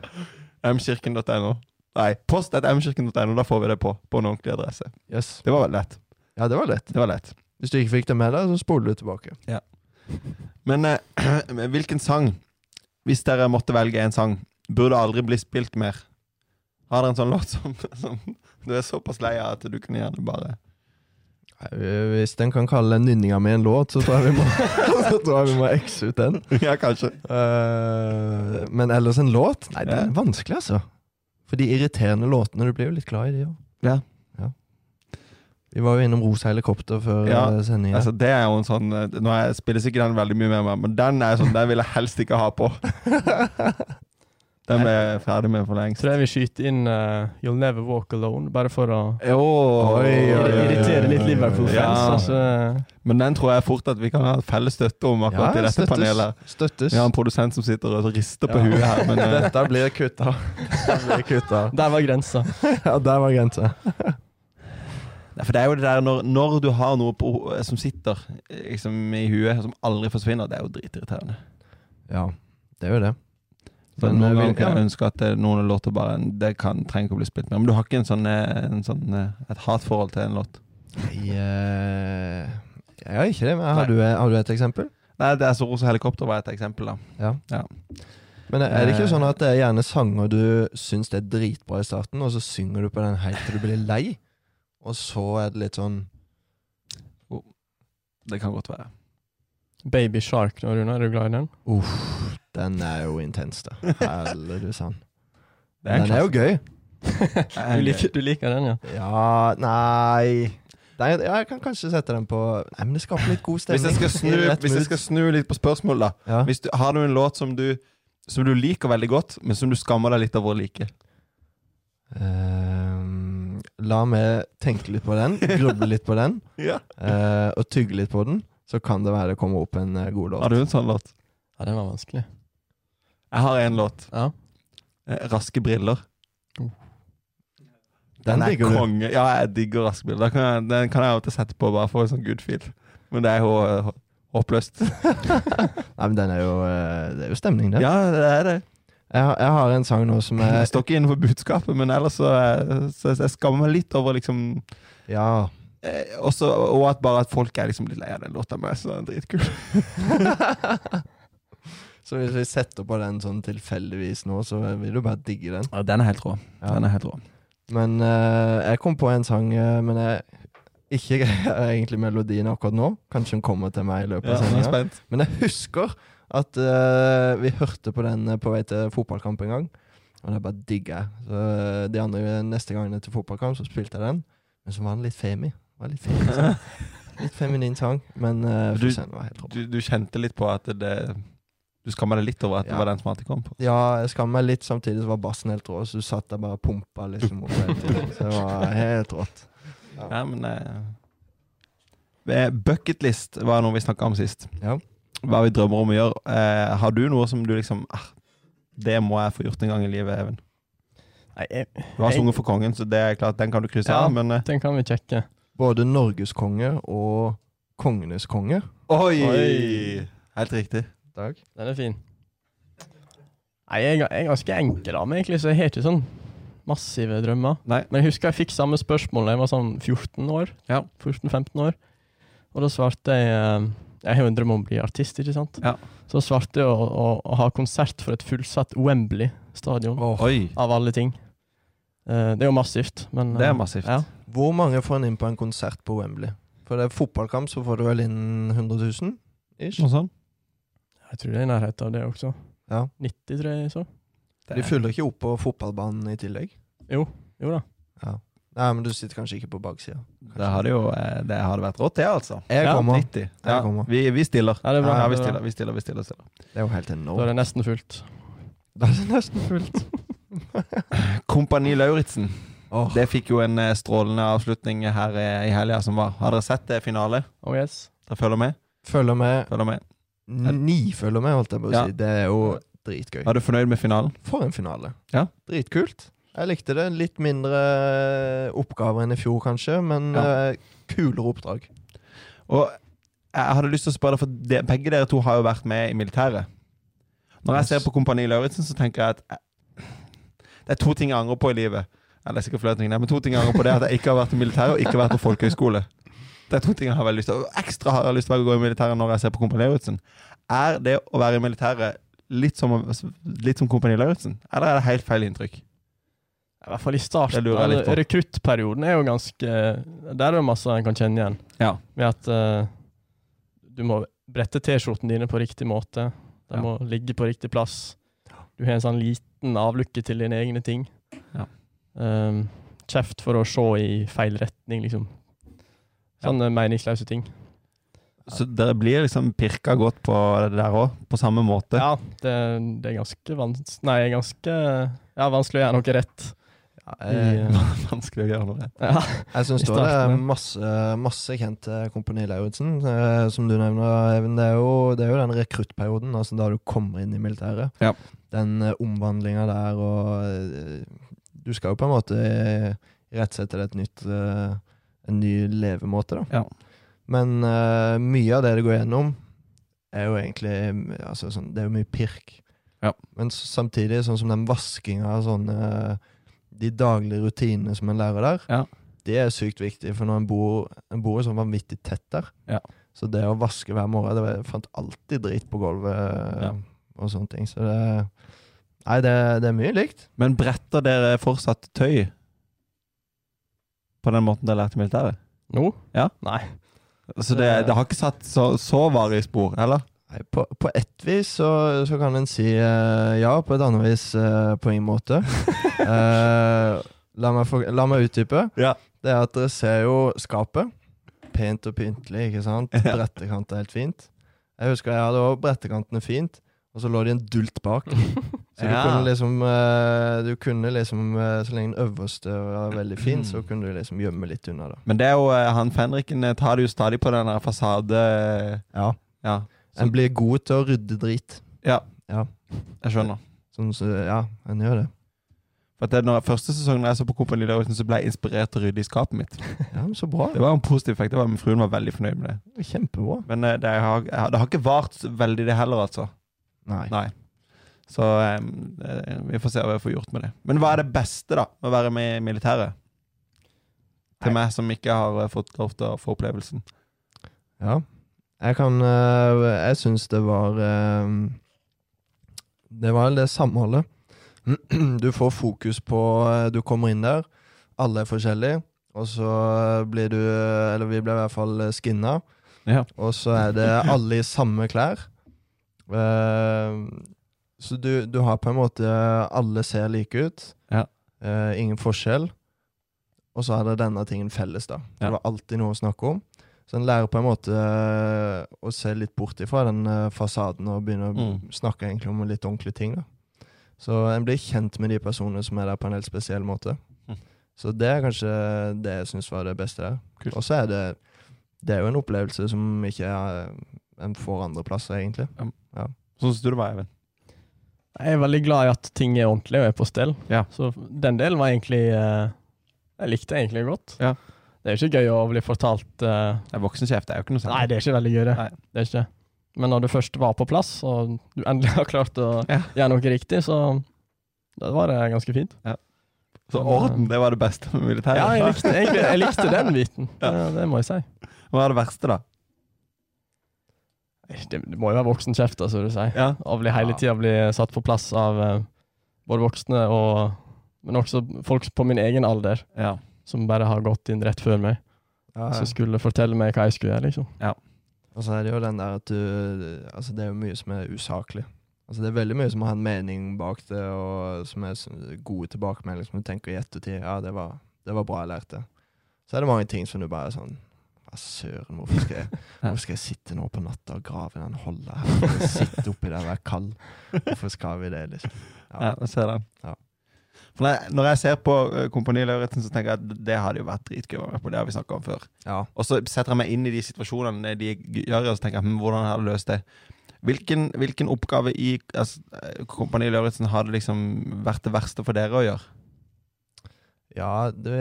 Speaker 2: mkirken.no. Nei, post at mkirken.no. Da får vi det på. På en ordentlig adresse.
Speaker 1: Yes.
Speaker 2: Det var lett.
Speaker 1: Ja, det var lett.
Speaker 2: Det var lett.
Speaker 1: Hvis du ikke fikk det med deg, så spoler du tilbake.
Speaker 2: Men eh, men hvilken sang, hvis dere måtte velge en sang, burde aldri bli spilt mer? Har dere en sånn låt som, som du er såpass lei av at du kunne gjerne bare
Speaker 1: Nei, Hvis den kan kalle nynninga mi en låt, så tror jeg vi må, så tror jeg vi må X ut den.
Speaker 2: Ja, kanskje.
Speaker 1: Eh, men ellers en låt? Nei, den er vanskelig, altså. For de irriterende låtene, du blir jo litt glad i de òg.
Speaker 2: Ja.
Speaker 1: Vi var jo innom Rosa helikopter før
Speaker 2: Ja,
Speaker 1: eh, sendingen
Speaker 2: Altså, det er jo en sånn eh, Nå er- spilles ikke den veldig mye mer, men den er sånn, den vil jeg helst ikke ha på. Den ble jeg ferdig med for lengst.
Speaker 3: Tror jeg vi skyter inn eh, You'll Never Walk Alone, bare for å
Speaker 2: Jo,
Speaker 1: Oi, oi, oi, oi,
Speaker 3: irritere litt
Speaker 1: oi, oi.
Speaker 3: Liverpool-fans.
Speaker 2: Ja.
Speaker 3: Altså,
Speaker 2: Men den tror jeg fort at vi kan ha felles støtte om akkurat i dette panelet.
Speaker 1: Støttes.
Speaker 2: Vi har en produsent som sitter og rister på
Speaker 3: Ja.
Speaker 2: huet her, men eh,
Speaker 1: Dette blir kutta. Dette blir kutta.
Speaker 3: der var grensa.
Speaker 1: Ja, der var grensa.
Speaker 2: Nei, For det er jo det der når, når du har noe på, som sitter eh, liksom, i huet, som aldri forsvinner, det er jo dritirriterende.
Speaker 1: Ja, det er jo det.
Speaker 2: Så
Speaker 1: Men,
Speaker 2: noen
Speaker 1: eh,
Speaker 2: ganger
Speaker 1: vil-
Speaker 2: kunne
Speaker 1: ja.
Speaker 2: jeg ønske at eh, noen låter bare Det kan, trenger ikke å bli spilt mer. Men du har ikke en sånn, eh, en sånn, eh, et hatforhold til en låt?
Speaker 1: Jeg, eh, jeg har ikke det, men
Speaker 2: Nei.
Speaker 1: har du, har du et eksempel?
Speaker 2: Nei, det er så Rosa Helikopter var et eksempel, da.
Speaker 1: Men er det ikke
Speaker 2: Eh.
Speaker 1: sånn at det er gjerne sanger du syns det er dritbra i starten, og så synger du på den helt til du blir lei, og så er det litt sånn
Speaker 2: Det kan godt være.
Speaker 3: Baby Shark nå, Rune. Er du glad i den?
Speaker 1: Uff, den er jo intens, da. Helle du sann.
Speaker 2: Det er en
Speaker 1: Den er jo gøy.
Speaker 3: Du liker, du liker den, ja?
Speaker 1: Ja, nei Nei, ja, Jeg kan kanskje sette den på Nei, men det skaper litt god stemning.
Speaker 2: Hvis jeg skal snu,
Speaker 1: Rett
Speaker 2: hvis jeg
Speaker 1: mood.
Speaker 2: skal snu litt på spørsmålet, da.
Speaker 1: ja.
Speaker 2: Hvis du, har du en låt som du, som du liker veldig godt, men som du skammer deg litt over å like?
Speaker 1: Ehm, La meg tenke litt på den, gruble litt på den,
Speaker 2: Ja.
Speaker 1: eh, og tygge litt på den. Så kan det være det kommer opp en eh, god låt.
Speaker 2: Har du en sånn låt?
Speaker 3: Ja, den var vanskelig.
Speaker 2: Jeg har en låt.
Speaker 3: Ja.
Speaker 2: Eh, Raske briller.
Speaker 1: Den
Speaker 2: er
Speaker 1: digger du.
Speaker 2: konge. Ja, jeg digger raske briller. Da kan jeg, den kan jeg av og til sette på bare for en sånn good feel. Men det er jo eh, håpløst.
Speaker 1: Nei, men den er jo, eh, det er jo stemning, det.
Speaker 2: Ja, eh, det er det.
Speaker 1: Jeg, har- jeg har en sang nå som er
Speaker 2: Jeg står ikke innenfor budskapet, men ellers så, eh, så så jeg skammer meg litt over liksom
Speaker 1: Ja.
Speaker 2: eh, også, Og at bare at folk er liksom litt lei av den låta mi, så den er dritkul.
Speaker 1: Så hvis vi setter på den sånn tilfeldigvis nå, så vil du bare digge den.
Speaker 2: Ja, den er helt rå.
Speaker 1: Ja.
Speaker 2: Den er helt rå.
Speaker 1: Men eh, jeg kom på en sang, eh, men jeg ikke greier egentlig melodien akkurat nå. Kanskje den kommer til meg i løpet
Speaker 2: Ja,
Speaker 1: av
Speaker 2: jeg er
Speaker 1: sendinga.
Speaker 2: spent.
Speaker 1: Men jeg husker at eh, vi hørte på den eh, på vei til fotballkamp en gang. Og det bare digger jeg. Så eh, de andre neste gangene til fotballkamp, så spilte jeg den. Men så var den litt femi. Det Var litt, femi sang. litt feminin sang. Men eh,
Speaker 2: Du-
Speaker 1: for sen var helt rå.
Speaker 2: Du, du kjente litt på at det Du skammer deg litt over at det
Speaker 1: Ja.
Speaker 2: var den som alltid kom på.
Speaker 1: Ja, jeg skammer meg litt, samtidig så var bassen helt rå. Så du satt der bare og pumpa liksom opp hele tiden. Så det var helt rått.
Speaker 2: Ja, men eh, Bucketlist var noe vi snakka om sist.
Speaker 1: Ja.
Speaker 2: Hva vi drømmer om å gjøre. Eh, har du noe som du liksom ah, Det må jeg få gjort en gang i livet, Even.
Speaker 3: Nei, jeg,
Speaker 2: Du har sunget for kongen, så det er klart, den kan du krysse
Speaker 3: Ja.
Speaker 2: av, men eh,
Speaker 3: sånn- den kan vi sjekke.
Speaker 1: Både norgeskonge og kongenes konge.
Speaker 2: oi!
Speaker 3: Oi.
Speaker 2: Helt riktig.
Speaker 1: Takk.
Speaker 3: Den er fin. Nei, jeg, er- jeg er ganske enkel av meg, egentlig, så jeg har ikke sånn massive drømmer.
Speaker 2: Nei.
Speaker 3: Men jeg husker jeg fikk samme spørsmål da jeg var sånn 14 år.
Speaker 2: Ja.
Speaker 3: 14-15 år. Og da svarte jeg eh, Jeg har jo en drøm om å bli artist, ikke sant?
Speaker 2: Ja.
Speaker 3: Så svarte jeg å, å, å ha konsert for et fullsatt Wembley stadion,
Speaker 2: Oi.
Speaker 3: av alle ting. Eh, det er jo massivt, men
Speaker 2: Det
Speaker 3: eh,
Speaker 2: er massivt.
Speaker 3: Ja.
Speaker 1: Hvor mange får en inn på en konsert på Wembley? For det er fotballkamp, så får du vel inn 100 000? Ish.
Speaker 2: Noe sånt?
Speaker 3: Jeg tror det er i nærheten av det også.
Speaker 1: Ja.
Speaker 3: 90, tror jeg jeg så.
Speaker 1: De fyller ikke opp på fotballbanen i tillegg?
Speaker 3: Jo. Jo da.
Speaker 1: Nei, men du sitter kanskje ikke på baksida.
Speaker 2: Det hadde jo eh, det hadde vært rått, det, altså.
Speaker 1: Jeg kommer.
Speaker 2: 90.
Speaker 1: Jeg
Speaker 2: Ja,
Speaker 1: kommer.
Speaker 2: vi, vi stiller.
Speaker 3: Ja, det er bra.
Speaker 2: Ja, vi
Speaker 3: Det er bra.
Speaker 2: stiller, vi stiller, vi stiller, stiller.
Speaker 1: Det er jo helt
Speaker 3: Da er
Speaker 1: enormt.
Speaker 3: det nesten fullt.
Speaker 1: Da er det nesten fullt.
Speaker 2: Kompani Lauritzen.
Speaker 1: Åh.
Speaker 2: Det fikk jo en eh, strålende avslutning her eh, i helga som var. Har dere sett det finale?
Speaker 3: Oh yes.
Speaker 2: Dere følger med?
Speaker 1: Følger med.
Speaker 2: Følger med.
Speaker 1: Ni følger med, holdt jeg på å
Speaker 2: Ja.
Speaker 1: si. Det er jo dritgøy.
Speaker 2: Er du fornøyd med finalen?
Speaker 1: For en finale.
Speaker 2: Ja.
Speaker 1: Dritkult. Jeg likte det. Litt mindre eh, oppgaver enn i fjor, kanskje, men
Speaker 2: Ja.
Speaker 1: eh, kulere oppdrag.
Speaker 2: Og jeg hadde lyst til å spørre deg, for de, begge dere to har jo vært med i militæret. Når jeg
Speaker 1: Yes.
Speaker 2: ser på Kompani Lauritzen, så tenker jeg at eh, det er to ting jeg angrer på i livet. Ja, det er sikkert flere ting, der, men to ting jeg angrer på, det er at jeg ikke har vært i militæret og ikke har vært på folkehøyskole. Det er to ting jeg har veldig lyst til. Og ekstra har jeg lyst til å gå i militæret når jeg ser på Kompani Lauritzen. Er det å være i militæret litt som, litt som Kompani Lauritzen, eller er det helt feil inntrykk?
Speaker 3: I hvert fall i starten.
Speaker 2: Det lurer jeg litt på.
Speaker 3: Altså, Rekruttperioden er jo ganske Der er det masse en kan kjenne igjen.
Speaker 2: Ja.
Speaker 3: Med at eh, du må brette T-skjortene dine på riktig måte. De
Speaker 2: Ja.
Speaker 3: må ligge på riktig plass. Du har en sånn liten avlukke til dine egne ting.
Speaker 2: Ja.
Speaker 3: Ehm, kjeft for å se i feil retning, liksom. Sånne meningsløse ting.
Speaker 2: Så dere blir liksom pirka godt på det der òg, på samme måte?
Speaker 3: Ja, det, det er ganske vanskelig Nei, ganske ja, vanskelig å gjøre noe rett.
Speaker 1: Ja,
Speaker 3: I,
Speaker 1: jeg
Speaker 3: eh,
Speaker 2: Vanskelig å gjøre noe rett.
Speaker 3: ja.
Speaker 1: jeg syns
Speaker 3: i
Speaker 1: det er
Speaker 3: starten, ja.
Speaker 1: masse, masse kjente Kompani Lauritzen, eh, som du nevner, Even. Det er jo, det er jo den rekruttperioden, altså da du kommer inn i militæret.
Speaker 2: Ja.
Speaker 1: Den eh, omvandlinga der og eh, Du skal jo på en måte eh, rette seg til et nytt eh, en ny levemåte, da.
Speaker 2: Ja.
Speaker 1: Men eh, mye av det det går gjennom, er jo egentlig mm, altså, sånn, Det er jo mye pirk.
Speaker 2: Ja.
Speaker 1: Men s- samtidig, sånn som den vaskinga av sånne De daglige rutinene som en lærer der,
Speaker 2: Ja.
Speaker 1: det er sykt viktig, for når en bor, en bor jo sånn vanvittig tett der.
Speaker 2: Ja.
Speaker 1: Så det å vaske hver morgen Det var, jeg fant alltid drit på gulvet
Speaker 2: Ja.
Speaker 1: og sånne ting. Så det Nei, det, det er mye likt.
Speaker 2: Men bretter dere fortsatt tøy? På den måten dere lærte i militæret?
Speaker 3: Nå?
Speaker 2: Ja.
Speaker 3: Nei.
Speaker 2: Så det, det har ikke satt så, så varige spor, eller?
Speaker 1: Nei, på, på ett vis så, så kan en si eh, ja, på et annet vis eh, på ingen måte. Eh, la, meg få- la meg utdype.
Speaker 2: Ja.
Speaker 1: Det er at dere ser jo skapet. Pent og pyntelig, ikke sant?
Speaker 2: Ja.
Speaker 1: Brettekant er helt fint. Jeg husker jeg hadde også brettekantene fint, og så lå de en dult bak. Så
Speaker 2: Ja.
Speaker 1: du kunne liksom, eh, du kunne liksom eh, Så lenge den øverste var veldig fin, så kunne du liksom gjemme litt unna, da.
Speaker 2: Men det er jo, eh, han fenriken eh, tar det jo stadig på den der fasade... eh,
Speaker 1: Ja.
Speaker 2: Ja,
Speaker 1: En blir god til å rydde drit.
Speaker 2: jeg skjønner.
Speaker 1: Sånn, så, ja, en gjør det.
Speaker 2: For at det, når første sesongen jeg så på Kompani Lauritzen, så ble jeg inspirert til å rydde i skapet mitt.
Speaker 1: Ja, men Så bra.
Speaker 2: Det var en positiv effekt. Det var, min fruen var veldig fornøyd med det.
Speaker 1: Kjempebra.
Speaker 2: Men eh, det har, jeg har- det har ikke vart veldig, det heller, altså.
Speaker 1: Nei.
Speaker 2: Nei. Så eh, eh, vi får se hva jeg får gjort med det. Men hva er det beste, da, med å være med i militæret? Til meg som ikke har eh, fått lov til å få opplevelsen.
Speaker 1: Ja. Jeg kan øh, Jeg syns det var øh, Det var det samholdet. Du får fokus på øh, Du kommer inn der, alle er forskjellige, og så øh, blir du øh, Eller vi ble i hvert fall øh, skinna,
Speaker 2: Ja.
Speaker 1: og så er det alle i samme klær. Eh, så du, du har på en måte Alle ser like ut.
Speaker 2: Ja.
Speaker 1: Eh, ingen forskjell. Og så er det denne tingen felles, da. Så
Speaker 2: Ja.
Speaker 1: Det var alltid noe å snakke om. Så en lærer på en måte eh, å se litt bort ifra den eh, fasaden og begynne å
Speaker 2: Mm.
Speaker 1: snakke egentlig om litt ordentlige ting. da. Så en blir kjent med de personene som er der på en helt spesiell måte.
Speaker 2: Mm.
Speaker 1: Så det er kanskje det jeg syns var det beste der.
Speaker 2: Kult.
Speaker 1: Og så er det Det er jo en opplevelse som ikke er, eh, en får andre plasser, egentlig.
Speaker 2: Sånn syns du det var, Even?
Speaker 3: Jeg er veldig glad i at ting er ordentlig og er på stell.
Speaker 2: Ja.
Speaker 3: Så den delen var egentlig eh, Jeg likte det egentlig godt.
Speaker 2: Ja.
Speaker 3: Det er jo ikke gøy å bli fortalt eh,
Speaker 2: Det er voksenkjeft, det er jo ikke noe
Speaker 3: Nei, det er ikke veldig gøy, det.
Speaker 2: Nei.
Speaker 3: det er ikke. det. Men når du først var på plass, og du endelig har klart å
Speaker 2: Ja.
Speaker 3: gjøre noe riktig, så da var det ganske fint.
Speaker 2: Så orden, det var det beste med militæret.
Speaker 3: Ja, jeg likte, egentlig- jeg likte den biten.
Speaker 2: Ja.
Speaker 3: Det, det må jeg si.
Speaker 2: Hva er det verste, da?
Speaker 3: Det, det må jo være voksenkjefter, som du sier.
Speaker 2: Ja.
Speaker 3: Å bli hele
Speaker 2: Ja.
Speaker 3: tida bli satt på plass av eh, både voksne og Men også folk på min egen alder
Speaker 2: ja.
Speaker 3: som bare har gått inn rett før meg,
Speaker 1: Ja, ja.
Speaker 3: som skulle fortelle meg hva jeg skulle gjøre, liksom.
Speaker 1: Og så er det jo den der at du Altså, det er jo mye som er usaklig. Altså, det er veldig mye som har en mening bak det, og som er s- gode tilbakemeldinger som du tenker i ettertid. Ja, det var, det var bra jeg lærte. Så er det mange ting som du bare er sånn Hva søren, hvorfor skal jeg Hvorfor skal jeg sitte nå på natta og grave i den holla her? Hvorfor skal jeg Sitte oppi der og være kald? Hvorfor skal vi det, liksom?
Speaker 2: Ja, jeg ser den.
Speaker 1: Ja.
Speaker 2: For når jeg, når jeg ser på eh, Kompani Lauritzen, så tenker jeg at det hadde jo vært dritgøy å være med på. Det har vi snakka om før.
Speaker 1: Ja.
Speaker 2: Og så setter jeg meg inn i de situasjonene de gjør, og så tenker jeg hm, hvordan har de løst det? Hvilken, hvilken oppgave i altså, eh, Kompani Lauritzen har det liksom vært det verste for dere å gjøre?
Speaker 1: Ja, det,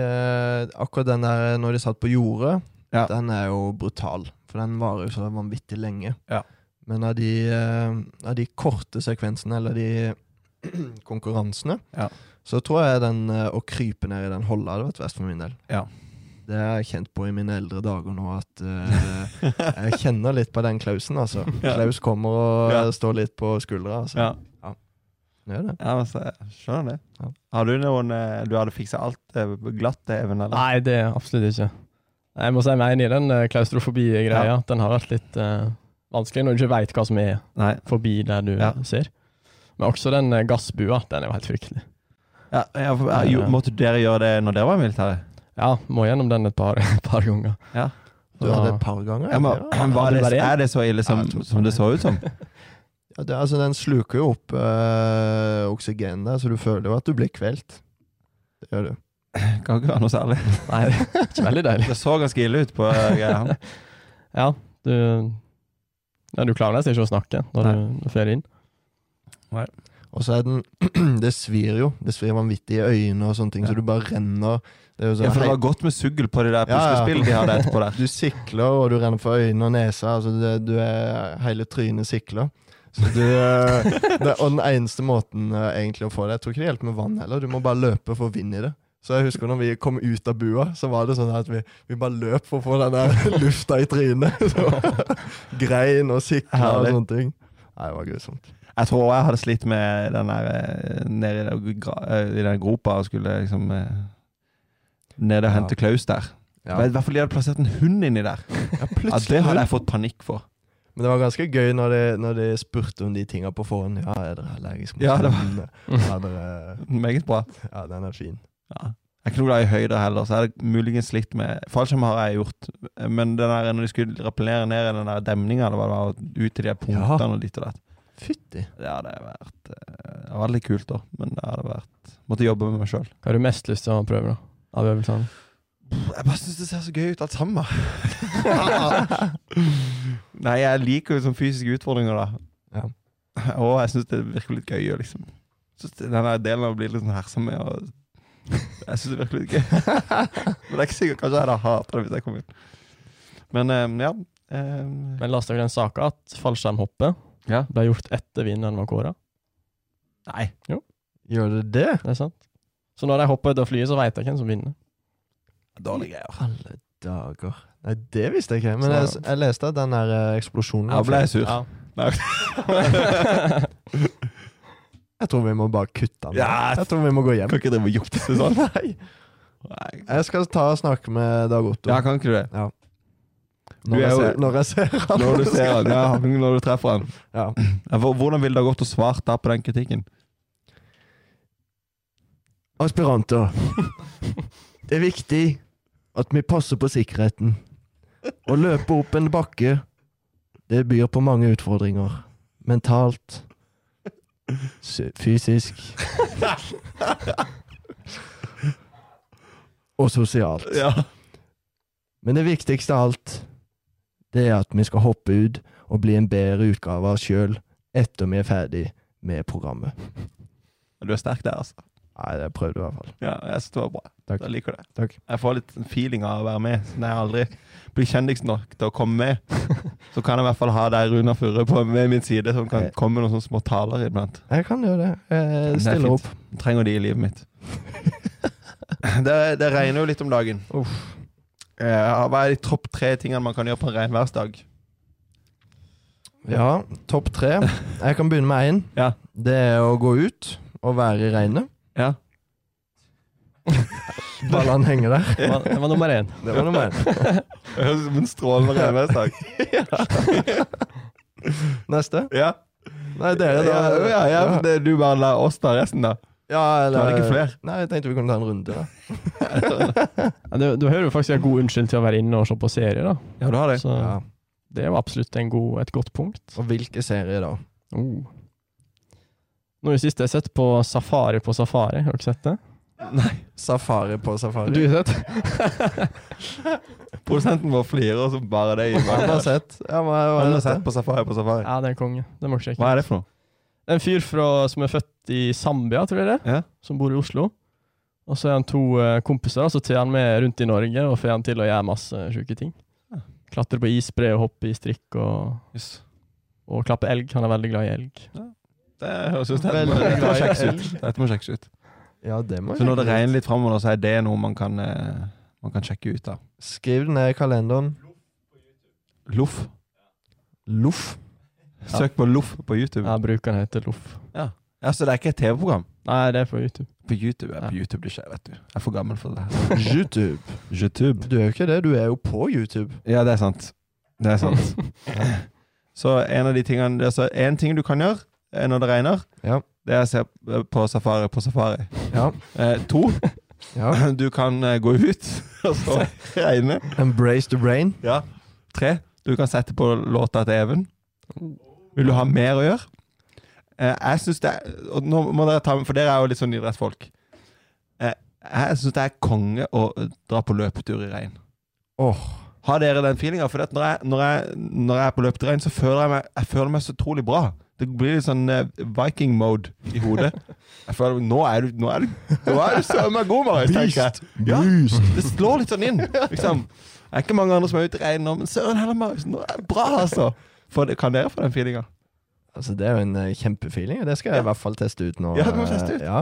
Speaker 1: akkurat den der når de satt på jordet,
Speaker 2: Ja.
Speaker 1: den er jo brutal. For den varer jo så vanvittig lenge.
Speaker 2: Ja.
Speaker 1: Men av de, eh, av de korte sekvensene, eller de konkurransene,
Speaker 2: Ja.
Speaker 1: så tror jeg den eh, å krype ned i den holla hadde vært verst for min del.
Speaker 2: Ja.
Speaker 1: Det har jeg kjent på i mine eldre dager nå, at eh, jeg kjenner litt på den klausen, altså.
Speaker 2: Ja.
Speaker 1: Klaus kommer og
Speaker 2: Ja.
Speaker 1: eh, står litt på skuldra, altså.
Speaker 2: Ja,
Speaker 1: Det er det.
Speaker 2: ja men så, jeg skjønner det.
Speaker 1: Ja.
Speaker 2: Har du noen eh, Du hadde fiksa alt eh, glatt, Even? Eller?
Speaker 3: Nei, det er absolutt ikke. Jeg må si meg enig i den eh, klaustrofobi-greia.
Speaker 2: Ja.
Speaker 3: Den har vært litt eh, vanskelig når du ikke veit hva som er
Speaker 2: Nei.
Speaker 3: forbi der du
Speaker 2: Ja.
Speaker 3: ser. Men også den eh, gassbua, den er jo helt fryktelig.
Speaker 2: Ja, ja, for, ja, jo, måtte dere gjøre det når dere var i militæret?
Speaker 3: Ja, må gjennom den et par, par ganger.
Speaker 2: Ja.
Speaker 1: Du hadde et par ganger?
Speaker 2: Ja, men,
Speaker 1: eller?
Speaker 2: var det,
Speaker 3: det bare en?
Speaker 2: er det så ille som,
Speaker 1: Ja, jeg tror-
Speaker 2: som det så ut som?
Speaker 1: Ja, det, altså Den sluker jo opp øh, oksygen der, så du føler jo at du blir kvelt. Det gjør du.
Speaker 2: Kan ikke være noe særlig.
Speaker 3: Nei, det er ikke veldig deilig.
Speaker 2: Det så ganske ille ut på eh, greia.
Speaker 3: Ja, du, ja, du klarer nesten ikke å snakke når du, når du fer inn.
Speaker 1: Og så er den Det svir jo. Det svir vanvittig i øynene og sånne ting,
Speaker 2: Ja.
Speaker 1: så du bare renner. Det er jo sånn,
Speaker 2: Ja, for det
Speaker 1: hei,
Speaker 2: var godt med suggel på det
Speaker 1: Ja,
Speaker 2: der
Speaker 1: ja.
Speaker 2: puslespillet de hadde etterpå der.
Speaker 1: du sikler, og du renner for øynene og nesa. Altså det, du er Hele trynet sikler. Så du, eh, det, og den eneste måten eh, egentlig å få det Jeg tror ikke det hjelper med vann heller. Du må bare løpe for å vinne i det. Så jeg husker når vi kom ut av bua, så var det sånn at vi, vi bare løp for å få den der lufta i trynet. Så, grein og sikla og
Speaker 2: Herlig.
Speaker 1: sånne ting. Nei, det var grusomt.
Speaker 2: Jeg tror også jeg hadde slitt med den der eh, nede i den gra- eh, i den gropa og skulle liksom eh, Nede og
Speaker 1: Ja.
Speaker 2: hente Klaus der.
Speaker 1: Ja.
Speaker 2: Men I hvert fall de hadde plassert en hund inni der.
Speaker 1: Ja,
Speaker 2: Ja,
Speaker 1: plutselig
Speaker 2: det hadde jeg fått panikk for.
Speaker 1: Men det var ganske gøy når de, når de spurte om de tinga på forhånd. Ja, er dere allergisk mot
Speaker 2: Ja, det var-
Speaker 1: hundene? Ja, dere,
Speaker 2: Meget bra.
Speaker 1: ja, den er fin.
Speaker 2: Ja. Jeg er ikke noe glad i høyder heller, så jeg hadde muligens slitt med Fallskjerm har jeg gjort, men den der, når de skulle rappellere ned i den der demninga, eller hva det var, og ut til de her punktene og ditt og datt
Speaker 1: Fytti.
Speaker 2: Det hadde vært eh, Det var litt kult, da, men det hadde vært Måtte jobbe med meg sjøl.
Speaker 3: Hva har du mest lyst til å prøve, da? Av øvelsene?
Speaker 2: Jeg bare syns det ser så gøy ut, alt sammen. Nei, jeg liker jo sånne fysiske utfordringer, da.
Speaker 1: Ja.
Speaker 2: Og jeg syns det virker litt gøy, liksom. Synes det- den der delen av å bli litt sånn hersa med og Jeg syns det virker litt gøy. Men det er ikke sikkert kanskje jeg hadde hatet det hvis jeg kom inn. Men eh, ja. eh,
Speaker 3: Men la oss ta den saka at fallskjermhoppet
Speaker 2: Ja.
Speaker 3: ble gjort etter vinneren var kåra.
Speaker 2: nei.
Speaker 1: Gjør det det?
Speaker 3: Det er sant. Så når de hopper ut av flyet, så veit jeg hvem som vinner.
Speaker 2: Dårlige greier.
Speaker 1: Alle dager. Nei, det visste jeg ikke. Men jeg,
Speaker 3: Så-
Speaker 1: jeg leste at den der eh, eksplosjonen
Speaker 2: Da
Speaker 1: var
Speaker 2: ble jeg
Speaker 1: feil.
Speaker 2: sur.
Speaker 3: Ja.
Speaker 1: Jeg tror vi må bare kutte den.
Speaker 2: Ja,
Speaker 1: Jeg tror vi må gå hjem.
Speaker 2: Kan ikke drive og jukse sånn.
Speaker 1: Nei.
Speaker 2: Nei.
Speaker 1: Jeg skal ta og snakke med Dag Otto
Speaker 2: Ja, kan ikke du det? du
Speaker 1: når,
Speaker 2: er
Speaker 1: jeg
Speaker 2: jo-
Speaker 1: ser, når jeg ser han.
Speaker 2: Når du ser han, ja, når du treffer han.
Speaker 1: Ja.
Speaker 2: Ja, hvor- Hvordan ville det ha gått å svare da på den kritikken?
Speaker 1: Aspiranter. Det er viktig at vi passer på sikkerheten. Å løpe opp en bakke, det byr på mange utfordringer. Mentalt. sy- Fysisk. Og sosialt.
Speaker 2: Ja.
Speaker 1: Men det viktigste av alt, det er at vi skal hoppe ut og bli en bedre utgave av oss sjøl etter vi er ferdig med programmet.
Speaker 2: Du er sterk der, altså.
Speaker 1: Nei, det prøvde jeg i hvert fall.
Speaker 2: Ja, jeg synes det var bra.
Speaker 1: Takk.
Speaker 2: Jeg liker det.
Speaker 1: Takk.
Speaker 2: Jeg får litt feeling av å være med. Når jeg aldri blir kjendis nok til å komme med, så kan jeg i hvert fall ha deg, Runa Furre, på ved min side, som kan
Speaker 1: Eh.
Speaker 2: komme med noen sånne små taler iblant.
Speaker 1: Jeg kan gjøre det. Jeg
Speaker 2: er
Speaker 1: stiller
Speaker 2: fint.
Speaker 1: opp.
Speaker 2: Jeg trenger de i livet mitt. det, det regner jo litt om dagen. Eh, hva er de topp tre tingene man kan gjøre på en regnværsdag?
Speaker 1: Ja, topp tre. Jeg kan begynne med én.
Speaker 2: Ja.
Speaker 1: Det er å gå ut og være i regnet.
Speaker 2: Ja.
Speaker 1: Ballene henger der.
Speaker 3: Det var, det var nummer én.
Speaker 1: Det var nummer én.
Speaker 2: Det høres ut som en strålende regnværsdag.
Speaker 1: Neste.
Speaker 2: Ja.
Speaker 1: Nei, dere, da.
Speaker 2: ja, ja, ja, men det, du bare lar oss ta resten, da.
Speaker 1: Ja, eller
Speaker 2: Var det ikke flere?
Speaker 1: Nei, jeg tenkte vi kunne ta en runde. Da.
Speaker 3: Ja, du, du har jo faktisk en god unnskyld til å være inne og se på serie, da.
Speaker 2: Ja, du har det.
Speaker 3: Så
Speaker 1: Ja.
Speaker 3: det var absolutt en god, et godt punkt.
Speaker 1: Og hvilke serier, da?
Speaker 3: Oh. Nå i det siste har jeg sett på Safari på Safari. Har dere sett det?
Speaker 1: Safari på safari.
Speaker 3: Du har sett?
Speaker 2: Produsenten vår flirer som bare det. i
Speaker 1: Han har
Speaker 2: meg.
Speaker 1: sett. Ja, hva, hva
Speaker 2: Han
Speaker 1: er
Speaker 2: har
Speaker 1: dette?
Speaker 2: sett på Safari på Safari.
Speaker 3: Ja, det er en konge. Det må dere sjekke.
Speaker 2: Hva er det for noe?
Speaker 3: Det er en fyr fra, som er født i Zambia, tror jeg det er,
Speaker 2: Ja.
Speaker 3: som bor i Oslo. Og så er han to eh, kompiser, og så tar han med rundt i Norge og får han til å gjøre masse sjuke ting.
Speaker 2: Ja.
Speaker 3: Klatre på isbre og hoppe i strikk og, og klappe elg. Han er veldig glad i elg.
Speaker 2: Det høres ut dette,
Speaker 1: Veldig
Speaker 2: må- dette må
Speaker 1: glad i
Speaker 2: sjekkes
Speaker 1: elg.
Speaker 2: ut. Dette må sjekkes ut.
Speaker 1: Ja, det må
Speaker 2: Så når det
Speaker 1: sjekke ut.
Speaker 2: regner litt framover, så er det noe man kan, eh, man kan sjekke ut av.
Speaker 1: Skriv det ned i kalenderen.
Speaker 2: Loff.
Speaker 1: Loff.
Speaker 2: Søk på Loff på YouTube. Ja.
Speaker 3: Ja, brukeren heter Loff.
Speaker 2: så det er ikke et TV-program?
Speaker 3: Nei, det er på YouTube.
Speaker 2: På YouTube ja.
Speaker 3: Ja.
Speaker 2: på YouTube det skjer, vet du. Jeg er for gammel for det. her.
Speaker 1: YouTube.
Speaker 2: YouTube.
Speaker 1: Du er jo ikke det. Du er jo på YouTube.
Speaker 2: Ja, det er sant. Det er sant. så en av de tingene det er så En ting du kan gjøre eh, når det regner,
Speaker 1: Ja.
Speaker 2: det er å se eh, på Safari på Safari.
Speaker 1: Ja.
Speaker 2: Eh, to,
Speaker 1: ja.
Speaker 2: du kan eh, gå ut og så regne.
Speaker 1: Embrace the rain.
Speaker 2: Ja. Tre. Du kan sette på låta til Even. Vil du ha mer å gjøre? Eh, jeg syns det er og nå må dere ta, med- For dere er jo litt sånn idrettsfolk. Eh, jeg syns det er konge å eh, dra på løpetur i regn.
Speaker 1: Åh.
Speaker 2: Har dere den feelinga? For det at når, jeg, når, jeg, når jeg er på løpetur i regn, så føler jeg meg, jeg føler meg så utrolig bra. Det blir litt sånn eh, viking-mode i hodet. Jeg føler, Nå er du Nå er du, nå er du søren meg god, Marius, tenker jeg. Ja, det slår litt sånn inn. Liksom. Det er ikke mange andre som er ute i regnen nå, men søren heller, Marius. Nå er det bra, altså. For, det- kan dere få den feelinga?
Speaker 1: Altså, det er jo en eh, kjempefeeling. og Det skal jeg i hvert fall teste ut nå.
Speaker 2: Ja, det må du teste
Speaker 1: Eh,
Speaker 2: ut.
Speaker 1: Ja.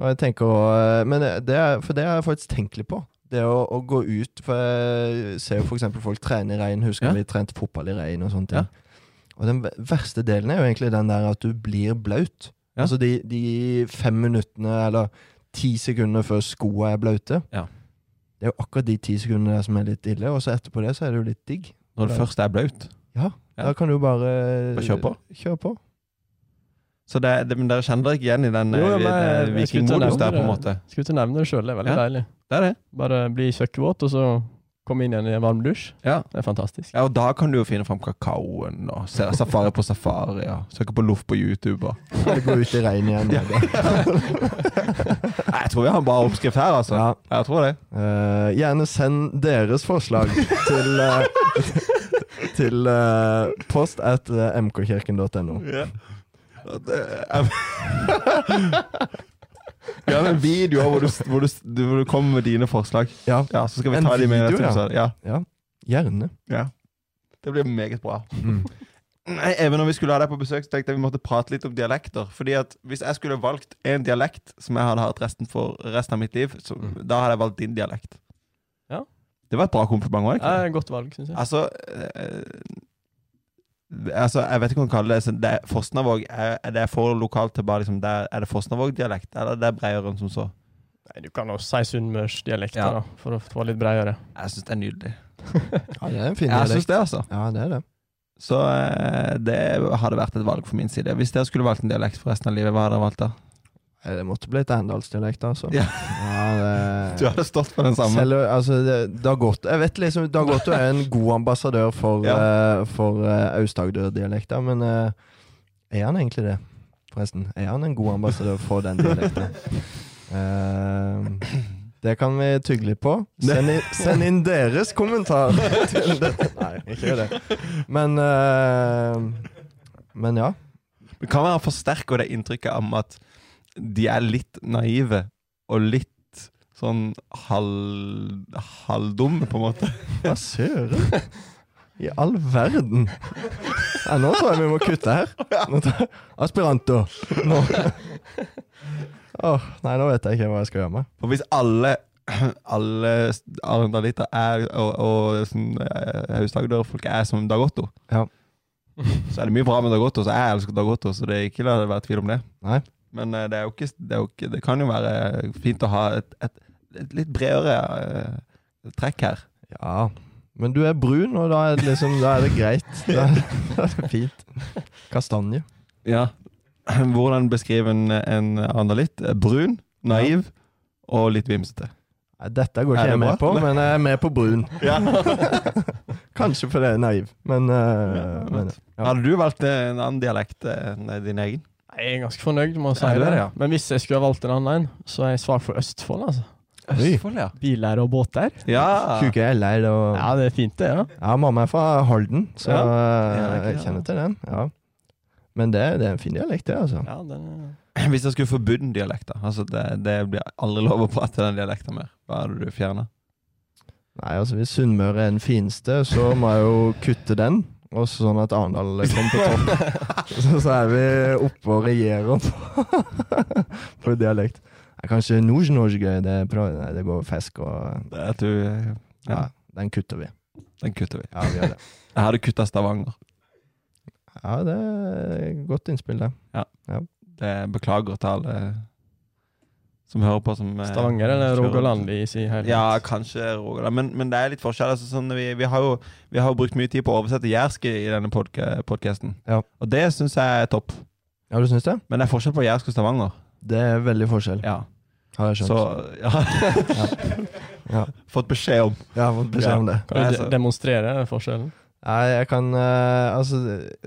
Speaker 1: Og jeg tenker å, eh, men det- det er, for det har jeg faktisk tenkt litt på. Det å, å gå ut For jeg ser jo f.eks. folk trene i regn. Husker
Speaker 2: Ja.
Speaker 1: vi trente fotball i regn og sånne ting.
Speaker 2: Ja.
Speaker 1: Og den ve- verste delen er jo egentlig den der at du blir blaut.
Speaker 2: Ja.
Speaker 1: Altså de, de fem minuttene eller ti sekundene før skoa er blaute.
Speaker 2: Ja.
Speaker 1: Det er jo akkurat de ti sekundene der som er litt ille, og så etterpå det så er det jo litt digg.
Speaker 2: Når det først er blaut. Ja.
Speaker 1: Da kan du jo bare
Speaker 2: Bare kjøre på.
Speaker 1: Kjøre på.
Speaker 2: Så det, det, men dere kjenner dere ikke igjen i den, eh,
Speaker 3: Jo, ja,
Speaker 2: i
Speaker 3: men
Speaker 2: den
Speaker 3: jeg- jeg skulle ikke
Speaker 2: vikingmodus
Speaker 3: nevne
Speaker 2: der, på en
Speaker 3: det.
Speaker 2: måte?
Speaker 3: Skulle ikke nevne det sjøl, det er veldig
Speaker 2: Ja.
Speaker 3: deilig.
Speaker 2: Det er det.
Speaker 3: Bare bli søkkvåt, og så komme inn igjen i en varm dusj.
Speaker 2: Ja.
Speaker 3: Det er fantastisk.
Speaker 2: Ja, og da kan du jo finne fram kakaoen og se safari på safari og søke på loff på YouTube. Og.
Speaker 1: Eller gå ut i regn igjen.
Speaker 2: Nei, jeg tror vi har en bra oppskrift her, altså.
Speaker 1: Ja.
Speaker 2: Jeg tror det.
Speaker 1: Eh, gjerne send deres forslag til, eh, til eh, post at eh, mkkirken.no.
Speaker 2: eh, Vi har en video hvor du, hvor, du, du, hvor du kommer med dine forslag.
Speaker 1: Ja,
Speaker 2: Ja, Så skal vi
Speaker 1: En
Speaker 2: ta de med i neste
Speaker 1: video, ja.
Speaker 2: episode. Ja.
Speaker 1: gjerne.
Speaker 2: Ja. Det blir meget bra.
Speaker 1: Mm.
Speaker 2: Nei, Even, når vi skulle ha deg på besøk, så tenkte jeg vi måtte prate litt om dialekter. Fordi at Hvis jeg skulle valgt en dialekt som jeg hadde hatt resten for resten av mitt liv, så,
Speaker 1: Mm.
Speaker 2: da hadde jeg valgt din dialekt.
Speaker 3: Ja.
Speaker 2: Det var et bra kompliment òg.
Speaker 3: Det er et godt valg, syns jeg.
Speaker 2: Altså, eh, altså Jeg vet ikke hva man kaller det. så det er Fosnavåg, er, er det for lokalt til bare liksom der, Er det Fosnavåg-dialekt, eller det er Breiøren som så?
Speaker 3: Nei, du kan også si sunnmørsdialekt,
Speaker 2: Ja.
Speaker 3: da, for å få litt bredere.
Speaker 2: Jeg syns det er nydelig.
Speaker 1: Ja, det er en fin
Speaker 2: Jeg synes
Speaker 1: dialekt.
Speaker 2: det, altså.
Speaker 1: Ja, det er det.
Speaker 2: Så eh, det hadde vært et valg for min side. Hvis dere skulle valgt en dialekt for resten av livet, hva hadde dere valgt da?
Speaker 1: Eh, Det måtte blitt Arendalsdialekt, altså.
Speaker 2: Ja.
Speaker 1: Ja,
Speaker 2: Du
Speaker 1: det,
Speaker 2: hadde stått på den samme.
Speaker 1: selv, altså, det, Dag Otto Jeg vet liksom Dag Otto er en god ambassadør for, eh, for eh, Aust-Agder-dialekta, men eh, er han egentlig det? Forresten, er han en god ambassadør for den dialekta? Eh, det kan vi tygge litt på. Send inn, send inn deres kommentar til dette. Nei, ikke gjør det. Men eh, Men ja.
Speaker 2: Det kan være forsterker det inntrykket om at de er litt naive og litt sånn halv, halvdumme, på en måte.
Speaker 1: Hva søren? I all verden. Ja, nå tror jeg vi må kutte her. Nå tar- Aspiranto. Nå. Åh, nei, nå vet jeg ikke hva jeg skal gjøre med.
Speaker 2: For hvis alle alle arendaliter er og, og sånn, eh, Aust-Agder-folk er som Dag Otto,
Speaker 1: Ja.
Speaker 2: så er det mye bra med Dag Otto. Så jeg elsker Dag Otto, så det er ikke la det være tvil om det.
Speaker 1: Nei.
Speaker 2: Men eh, det, er jo ikke, det, er jo ikke, det kan jo være fint å ha et, et, et litt bredere eh, trekk her.
Speaker 1: Ja, men du er brun, og da er det, liksom, da er det greit. Da da er det fint. Kastanje.
Speaker 2: Ja. Hvordan beskrive en, en arendalitt? Brun, naiv og litt vimsete.
Speaker 1: Nei, Dette går
Speaker 2: Er
Speaker 1: ikke
Speaker 2: det
Speaker 1: jeg med
Speaker 2: bra?
Speaker 1: på, men jeg er med på brun.
Speaker 2: Ja.
Speaker 1: Kanskje fordi jeg er naiv, men, eh,
Speaker 2: Ja,
Speaker 1: men Ja.
Speaker 2: Hadde du valgt eh, en annen dialekt eh, enn din egen?
Speaker 3: Nei, Jeg er ganske fornøyd med å si
Speaker 2: Ja, du
Speaker 3: det,
Speaker 2: er det, ja.
Speaker 3: men hvis jeg skulle ha valgt en annen, så er jeg svak for Østfold, altså.
Speaker 1: Oi.
Speaker 2: ja.
Speaker 3: Biler og båter.
Speaker 2: Ja.
Speaker 1: Kuker er lei det. og-
Speaker 3: Ja, det er fint, det, ja.
Speaker 1: Ja, mamma er fra Halden, så
Speaker 3: Ja.
Speaker 1: eh,
Speaker 2: Ja, det er ikke
Speaker 1: jeg
Speaker 2: det,
Speaker 1: kjenner
Speaker 2: da.
Speaker 1: til den. Ja. Men det, det er en fin dialekt, det, altså.
Speaker 3: ja den eh, er...
Speaker 2: Hvis jeg skulle forbudt en dialekt, da altså det, det blir aldri lov å prate den dialekten mer. Hva er det du fjerner?
Speaker 1: Nei, altså Hvis Sunnmøre er den fineste, så må jeg jo kutte den. Og så sånn at Arendal kommer på topp. Så, så er vi oppe og regjerer på, på dialekt. Nei, kanskje norsk-norsk det, er bra. Nei, det går fisk og
Speaker 2: Det er at du eh,
Speaker 1: ja, Den kutter vi.
Speaker 2: Den kutter vi.
Speaker 1: Ja, vi gjør det.
Speaker 2: Jeg hadde kutta Stavanger.
Speaker 1: Ja, det er godt innspill, det.
Speaker 2: Det beklager til alle som hører på som eh,
Speaker 3: Stavanger eller
Speaker 2: kjører-
Speaker 3: Rogaland i sin helhet.
Speaker 2: Ja, kanskje Rogaland, men, men det er litt forskjell. Altså, sånn, vi, vi, har jo, vi har jo brukt mye tid på å oversette jærsk i denne podka- podcasten
Speaker 1: Ja.
Speaker 2: og det syns jeg er topp.
Speaker 1: Ja, du syns det?
Speaker 2: Men det er forskjell på jærsk og Stavanger.
Speaker 1: Det er veldig forskjell,
Speaker 2: Ja.
Speaker 1: har jeg
Speaker 2: Så
Speaker 1: skjønt.
Speaker 2: ja.
Speaker 1: Ja.
Speaker 2: Fått beskjed om.
Speaker 1: Jeg har fått beskjed om det.
Speaker 3: Kan du
Speaker 2: Nei,
Speaker 3: de-
Speaker 2: altså-
Speaker 3: demonstrere forskjellen?
Speaker 1: Nei, jeg kan eh, Altså,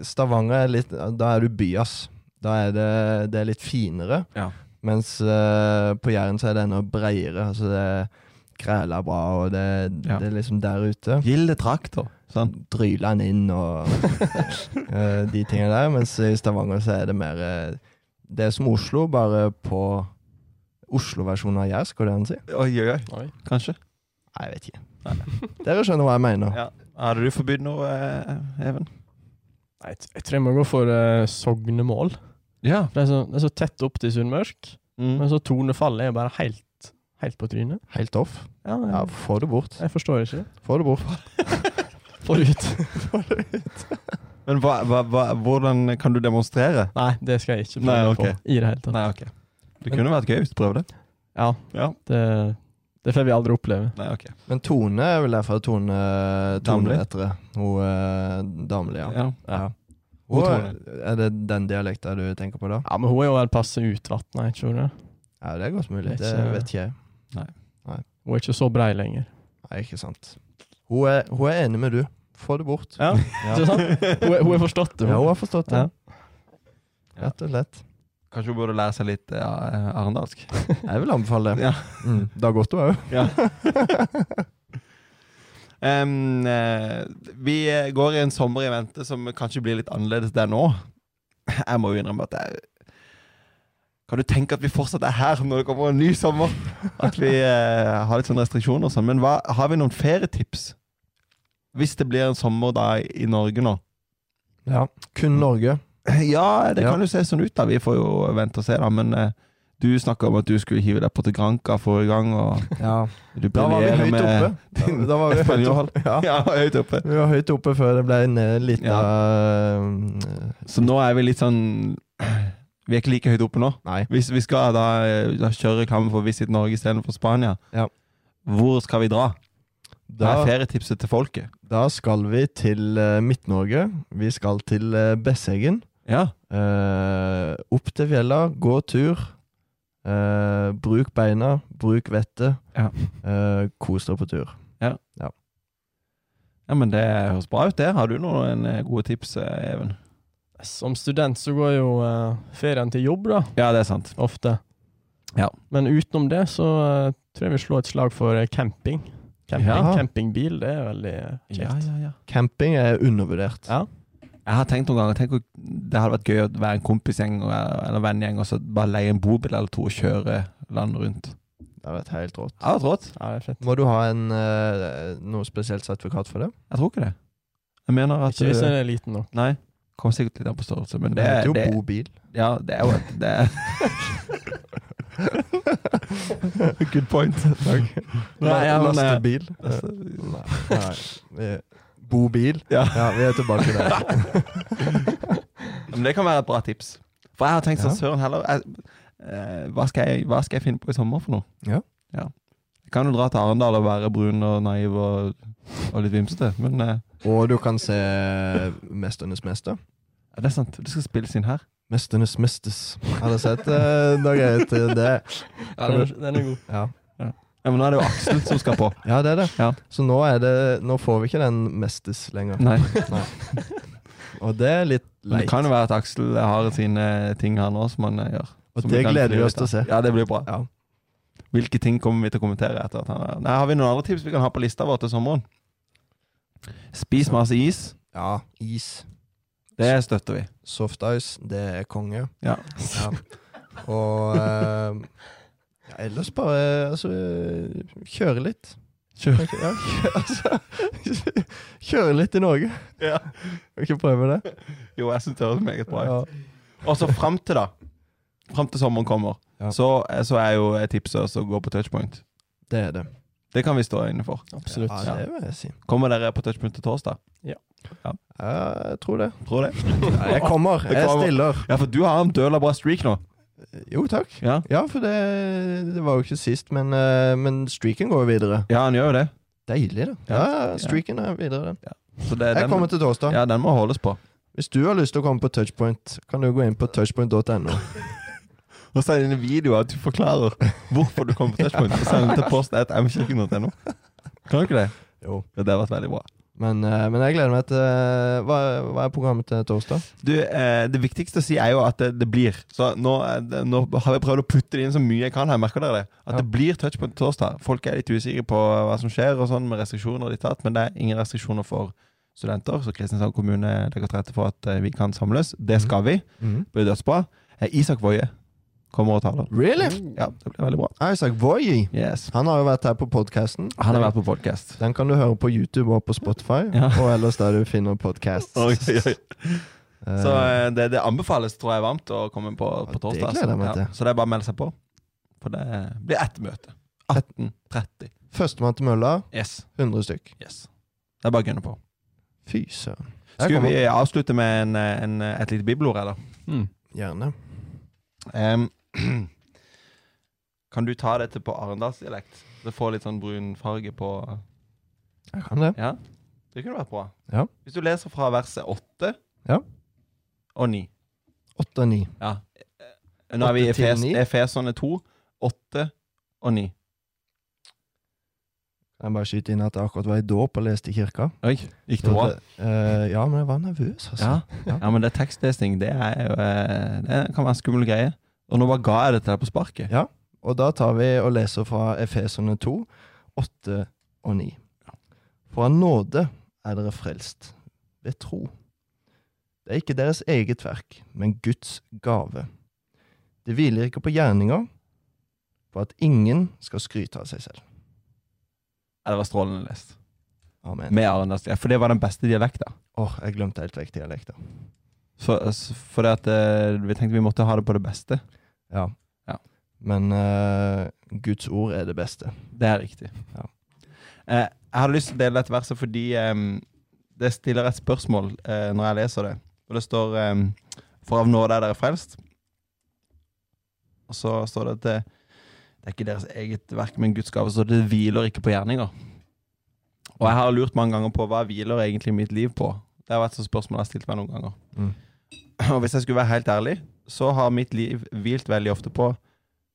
Speaker 1: Stavanger er litt Da er du by, ass. Da er det, det er litt finere.
Speaker 2: Ja.
Speaker 1: Mens eh, på Jæren så er det enda breiere. Altså det, græla bra, og det,
Speaker 2: Ja.
Speaker 1: det er liksom der ute.
Speaker 2: Gilde traktor. Sånn.
Speaker 1: Dryler han inn og eh, de tingene der. Mens i Stavanger så er det mer eh, Det er som Oslo, bare på Oslo-versjonen av Jærsk, går det an å si?
Speaker 2: Oi, oi, oi.
Speaker 3: Oi.
Speaker 2: Kanskje.
Speaker 1: Nei, jeg vet ikke.
Speaker 2: Nei.
Speaker 1: Dere skjønner hva jeg mener.
Speaker 2: Ja. Hadde du forbudt noe, eh, Even?
Speaker 3: Nei, jeg t- jeg tror jeg må gå for eh, sognemål.
Speaker 2: Ja.
Speaker 3: For det er, så, det er så tett opp til Sunnmørsk, men
Speaker 2: Mm.
Speaker 3: så tonefallet er bare helt, helt på trynet.
Speaker 1: Helt off.
Speaker 3: Ja, jeg,
Speaker 1: Ja, få det bort.
Speaker 3: jeg forstår ikke.
Speaker 1: Få det bort.
Speaker 3: Få det ut.
Speaker 2: Men hva, hva, hva, hvordan kan du demonstrere?
Speaker 3: Nei, det skal jeg ikke prøve
Speaker 2: Nei, ok.
Speaker 3: på i det hele tatt.
Speaker 2: Nei, ok. Det kunne vært gøy hvis du prøvde.
Speaker 3: Ja,
Speaker 2: Ja.
Speaker 3: det, det får vi aldri oppleve.
Speaker 2: Nei, ok.
Speaker 1: Men Tone er vel derfor Tone Tone
Speaker 2: Damli.
Speaker 1: heter det. Hun eh, Damli, ja.
Speaker 2: Ja.
Speaker 1: ja.
Speaker 2: Hun
Speaker 1: Og,
Speaker 2: Tone.
Speaker 1: er det den dialekta du tenker på da?
Speaker 3: Ja, men hun er jo helt passe utvatna, ikke hun det?
Speaker 1: Ja, det er godt mulig.
Speaker 3: Det er
Speaker 1: Det
Speaker 3: ikke-
Speaker 1: vet ikke jeg.
Speaker 3: Hun er ikke så brei lenger.
Speaker 1: Nei, ikke sant. Hun er, hun er enig med du. Få det bort.
Speaker 3: Ja,
Speaker 1: Ja.
Speaker 3: Ikke sant? Hun, er- hun er forstått, det.
Speaker 1: Ja, hun har forstått det.
Speaker 3: Ja.
Speaker 1: Rett og slett.
Speaker 2: Kanskje hun burde lære seg litt eh, arendalsk.
Speaker 1: Jeg vil anbefale det.
Speaker 2: Ja.
Speaker 1: Mm. Det har gått hun òg.
Speaker 2: Ja. Em, eh, vi eh, går i en sommer i vente som kanskje blir litt annerledes der nå. Jeg må jo innrømme at jeg Kan du tenke at vi fortsatt er her når det kommer en ny sommer? At vi eh, har litt sånne restriksjoner og sånn. Men hva, har vi noen ferietips? Hvis det blir en sommer da i Norge nå?
Speaker 1: Ja. Kun Norge.
Speaker 2: Ja, det
Speaker 1: Ja.
Speaker 2: kan jo se sånn ut, da. Vi får jo vente og se, da. Men eh, du snakka om at du skulle hive deg på til Granca forrige gang, og
Speaker 1: Ja.
Speaker 2: du
Speaker 1: Da var vi
Speaker 2: briljerer
Speaker 1: høyt
Speaker 2: med-
Speaker 1: oppe. Da, da var vi høyt
Speaker 2: Spanjol.
Speaker 1: oppe. Ja.
Speaker 2: Ja, høyt oppe.
Speaker 1: Vi var høyt oppe før det ble en eh, liten eh,
Speaker 2: Så nå er vi litt sånn Vi er ikke like høyt oppe nå.
Speaker 1: Nei.
Speaker 2: Hvis vi skal da, eh, da kjøre reklame for Visit Norge istedenfor Spania,
Speaker 1: Ja.
Speaker 2: hvor skal vi dra? Det
Speaker 1: Da
Speaker 2: er ferietipset til folket.
Speaker 1: Da skal vi til eh, Midt-Norge. Vi skal til eh, Besseggen.
Speaker 2: Ja.
Speaker 1: Eh, opp til fjella, gå tur. Eh, bruk beina, bruk vettet.
Speaker 2: Ja.
Speaker 1: Eh, kos deg på tur.
Speaker 2: ja, men det høres bra ut, det. Har du noen eh, gode tips, eh, Even?
Speaker 3: Som student så går jo eh, ferien til jobb, da,
Speaker 2: Ja, det er sant.
Speaker 3: ofte.
Speaker 2: Ja.
Speaker 3: Men utenom det så eh, tror jeg vi slår et slag for eh, camping. camping.
Speaker 1: Ja.
Speaker 3: Campingbil, det er veldig eh,
Speaker 2: Ja,
Speaker 3: kjekt.
Speaker 2: ja, ja.
Speaker 1: Camping er undervurdert.
Speaker 3: Ja.
Speaker 2: Jeg har tenkt noen ganger tenk hvor- Det hadde vært gøy å være en kompisgjeng og- eller vennegjeng og så bare leie en bobil eller to og kjøre landet rundt.
Speaker 1: Det har vært helt rått.
Speaker 2: Det hadde vært rått.
Speaker 3: Ja, det er fett.
Speaker 1: Må du ha en, eh, noe spesielt sertifikat for det?
Speaker 2: Jeg tror ikke det. Jeg mener at
Speaker 3: Ikke hvis den er liten nok.
Speaker 2: Nei. Kommer sikkert litt an på størrelse, men
Speaker 1: Det
Speaker 2: det,
Speaker 1: heter jo
Speaker 2: det,
Speaker 1: bobil.
Speaker 2: Ja, det er jo et det er Good point. Takk. Nei, ja, men, eh,
Speaker 1: Lastebil. Nei. Nei. Eh, Bobil.
Speaker 2: Ja.
Speaker 1: Ja, vi er tilbake der.
Speaker 2: Men det kan være et bra tips. For jeg har tenkt sånn,
Speaker 1: Ja.
Speaker 2: søren heller jeg, eh, hva, skal jeg, hva skal jeg finne på i sommer for noe?
Speaker 1: Ja.
Speaker 2: Jeg kan jo dra til Arendal og være brun og naiv og, og litt vimsete, men eh,
Speaker 1: Og du kan se Mesternes mester.
Speaker 2: ja, det er sant. Det skal spilles inn her.
Speaker 1: Mesternes Mestes. Har du sett eh, noe greier til det?
Speaker 3: Ja, den, er- den er god.
Speaker 1: Ja.
Speaker 2: Ja, men nå er det jo Aksel som skal på.
Speaker 1: ja, det er det.
Speaker 2: Ja.
Speaker 1: Så nå, er det, nå får vi ikke den Mestes lenger.
Speaker 2: Nei.
Speaker 1: Og det er litt
Speaker 2: Men det
Speaker 1: leit.
Speaker 2: kan jo være at Aksel har sine ting her nå som han eh, gjør.
Speaker 1: Og
Speaker 2: Som
Speaker 1: det
Speaker 2: kan
Speaker 1: gleder vi
Speaker 2: flire
Speaker 1: oss
Speaker 2: litt av.
Speaker 1: til å se.
Speaker 2: Ja, det blir bra.
Speaker 1: Ja.
Speaker 2: Hvilke ting kommer vi til å kommentere etter at han er Nei, Har vi noen andre tips vi kan ha på lista vår til sommeren? Spis masse is.
Speaker 1: ja. Is.
Speaker 2: Det støtter vi.
Speaker 1: Soft ice, det er konge.
Speaker 2: Ja.
Speaker 1: Ja. Og eh, ja, ellers bare altså, kjøre litt.
Speaker 2: Kjør.
Speaker 1: Ok, Ja, kjø- altså, kjøre litt i Norge.
Speaker 2: Ja.
Speaker 1: Kan vi ikke prøve det?
Speaker 2: Jo, jeg syns det høres meget bra ut.
Speaker 1: Ja.
Speaker 2: Og så fram til, da. Fram til sommeren kommer.
Speaker 1: Ja.
Speaker 2: Så, eh, så er jo et tips også å gå på touchpoint.
Speaker 1: Det er det.
Speaker 2: Det kan vi stå inne for.
Speaker 3: Absolutt.
Speaker 1: Ja, det vil jeg si.
Speaker 2: Kommer dere på touchpoint til torsdag?
Speaker 1: Ja, jeg tror det.
Speaker 2: Tror det.
Speaker 1: Ja, jeg kommer.
Speaker 2: Jeg
Speaker 1: Jeg
Speaker 2: kommer.
Speaker 1: stiller.
Speaker 2: Ja, for du har en døla bra streak nå.
Speaker 1: Jo, takk.
Speaker 2: Ja,
Speaker 1: Ja, for det, det var jo ikke sist, men, eh, men streaken går jo videre.
Speaker 2: ja han gjør jo det.
Speaker 1: Deilig, da. Ja, streaken er videre. den.
Speaker 2: Så det,
Speaker 1: Jeg
Speaker 2: den-
Speaker 1: kommer til torsdag.
Speaker 2: Ja, den må holdes på.
Speaker 1: Hvis du har lyst til å komme på touchpoint, kan du gå inn på touchpoint.no.
Speaker 2: Og så er det en video at du forklarer hvorfor du kom på touchpoint. Og send den til post.mkirken.no. Kan du ikke det?
Speaker 1: Jo.
Speaker 2: Ja, det har vært veldig bra.
Speaker 1: Men, eh, men jeg gleder meg til eh, Hva, hva er programmet til torsdag?
Speaker 2: Du, eh, Det viktigste å si er jo at det, det blir. Så nå, eh, det- nå har jeg prøvd å putte det inn så mye jeg kan her. Merker dere det? At
Speaker 1: Ja.
Speaker 2: det blir touchpoint torsdag. Folk er litt usikre på hva som skjer, og sånn med restriksjoner og ditt og datt, men det er ingen restriksjoner for studenter. Så Kristiansand kommune legger til rette for at eh, vi kan samles. Det skal vi. Det blir dødsbra. Eh, Isak Woie kommer og taler.
Speaker 1: Really?
Speaker 2: Ja, det blir veldig bra.
Speaker 1: Isaac Voye.
Speaker 2: Yes.
Speaker 1: Han har jo vært her på podkasten.
Speaker 2: Han har vært på podkast.
Speaker 1: Den kan du høre på YouTube og på Spotify,
Speaker 2: Ja.
Speaker 1: og ellers der du finner podcasts. Eh,
Speaker 2: Så eh, det, det anbefales, tror jeg, varmt å komme på
Speaker 1: Ja,
Speaker 2: på
Speaker 1: det
Speaker 2: torsdag.
Speaker 1: gleder jeg meg
Speaker 2: altså.
Speaker 1: til.
Speaker 2: Ja, så det er bare å melde seg på. For det blir ett møte. 18.30.
Speaker 1: Førstemann til mølla,
Speaker 2: Yes.
Speaker 1: 100 stykk.
Speaker 2: yes. Det er bare å gunne på.
Speaker 1: Fy søren. Jeg
Speaker 2: Skulle
Speaker 1: kommer.
Speaker 2: vi avslutte med en, en, et lite bibelord, eller?
Speaker 3: Mm.
Speaker 1: Gjerne.
Speaker 2: Em, kan du ta dette på arendalsdialekt? Det får litt sånn brun farge på
Speaker 1: Jeg kan det.
Speaker 2: Ja, det kunne vært bra.
Speaker 1: Ja.
Speaker 2: Hvis du leser fra verset åtte
Speaker 1: Ja.
Speaker 2: og ni.
Speaker 1: 8 av 9.
Speaker 2: Ja. Nå er vi i
Speaker 1: Åtte til
Speaker 2: Efes,
Speaker 1: ni.
Speaker 2: Efeserne 2, 8 og 9.
Speaker 1: Jeg bare skyter inn at jeg akkurat var i dåp og leste i kirka.
Speaker 2: Oi, gikk
Speaker 1: Så det- eh, ja, men jeg var nervøs, altså.
Speaker 2: Ja. ja, men det er tekstlesning. Det, er, jo, eh, det kan være en skummel greie. Og nå bare ga jeg det til deg på sparket.
Speaker 1: Og da tar vi og leser fra Efeserne 2, 8 og 9. For av nåde er dere frelst, ved tro. Det er ikke deres eget verk, men Guds gave. Det hviler ikke på gjerninger, for at ingen skal skryte av seg selv.
Speaker 2: Ja, det var strålende lest.
Speaker 1: Amen.
Speaker 2: Med Arendalsdialekt. For det var den beste dialekten.
Speaker 1: Åh, jeg glemte helt vekk dialekter.
Speaker 2: Så, s- for det at, eh, vi tenkte vi måtte ha det på det beste.
Speaker 1: Ja.
Speaker 2: Ja.
Speaker 1: Men eh, Guds ord er det beste.
Speaker 2: Det er riktig.
Speaker 1: Ja.
Speaker 2: Eh, jeg hadde lyst til å dele dette verset fordi em, det stiller et spørsmål eh, når jeg leser det. Og det står em, For av nåde er dere frelst. Og så står det at det, det er ikke deres eget verk, men Guds gave. Så det hviler ikke på gjerninger. Og jeg har lurt mange ganger på hva hviler egentlig mitt liv på. Det har vært et spørsmål jeg har stilt meg noen ganger.
Speaker 1: Mm.
Speaker 2: Og hvis jeg skulle være helt ærlig, så har mitt liv hvilt veldig ofte på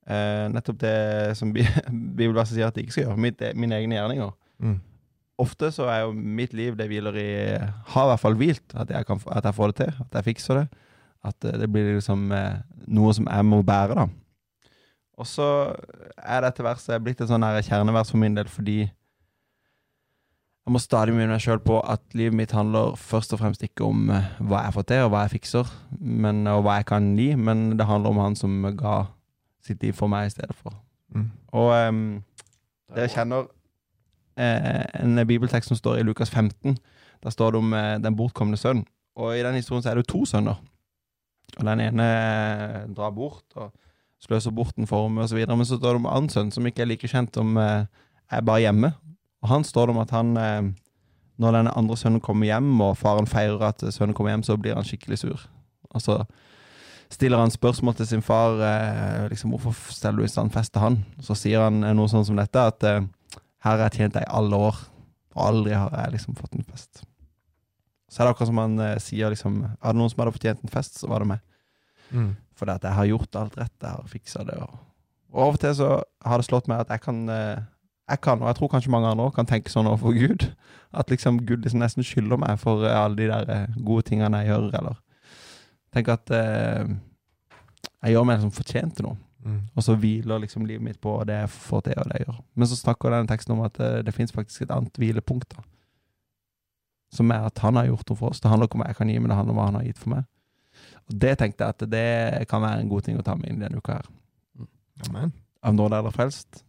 Speaker 2: eh, nettopp det som Bi- bibelverset sier at jeg ikke skal gjøre, mitt, eh, mine egne gjerninger.
Speaker 1: Mm.
Speaker 2: Ofte så er jo mitt liv det hviler i Har i hvert fall hvilt. At jeg, kan, få- at jeg får det til. At jeg fikser det. At eh, det blir liksom eh, noe som jeg må bære, da. Og så er dette verset blitt et sånn her kjernevers for min del fordi jeg må stadig minne meg sjøl på at livet mitt handler først og fremst ikke om eh, hva jeg får til, og hva jeg fikser, men, og hva jeg kan gi, men det handler om han som ga sitt liv for meg i stedet for.
Speaker 1: Mm.
Speaker 2: Og ehm, dere kjenner eh, en bibeltekst som står i Lukas 15. Der står det om eh, den bortkomne sønn. Og i den historien så er det jo to sønner. Og den ene eh, drar bort og sløser bort en formue osv. Men så står det om en annen sønn som ikke er like kjent, om eh, er bare hjemme. Og han står det om at han eh, når den andre sønnen kommer hjem, og faren feirer at sønnen kommer hjem, så blir han skikkelig sur. Altså, Og så stiller han spørsmål til sin far eh, liksom, hvorfor steller du i stand fest til han? Så sier han eh, noe sånn som dette, at eh, her har jeg tjent deg i alle år, og aldri har jeg liksom fått en fest. Så er det akkurat som han eh, sier liksom, er det noen som hadde fortjent en fest, så var det meg.
Speaker 1: Mm.
Speaker 2: For det at jeg har gjort alt rett, jeg har fiksa det. Og, og av og til så har det slått meg at jeg kan, eh, jeg kan, og jeg tror kanskje mange andre også kan tenke sånn overfor Gud, at liksom Gud liksom nesten skylder meg for eh, alle de der eh, gode tingene jeg gjør, eller Tenk at eh, jeg gjør meg liksom fortjent til noe,
Speaker 1: Mm.
Speaker 2: og så hviler liksom livet mitt på det jeg får til, og det jeg gjør. Men så snakker denne teksten om at eh, det fins faktisk et annet hvilepunkt, da. Som er at han har gjort noe for oss. Det handler ikke om hva jeg kan gi, men det handler om hva han har gitt for meg. Og det tenkte jeg at det kan være en god ting å ta med inn i denne uka her.
Speaker 1: Amen.
Speaker 2: Av nåde eller frelst.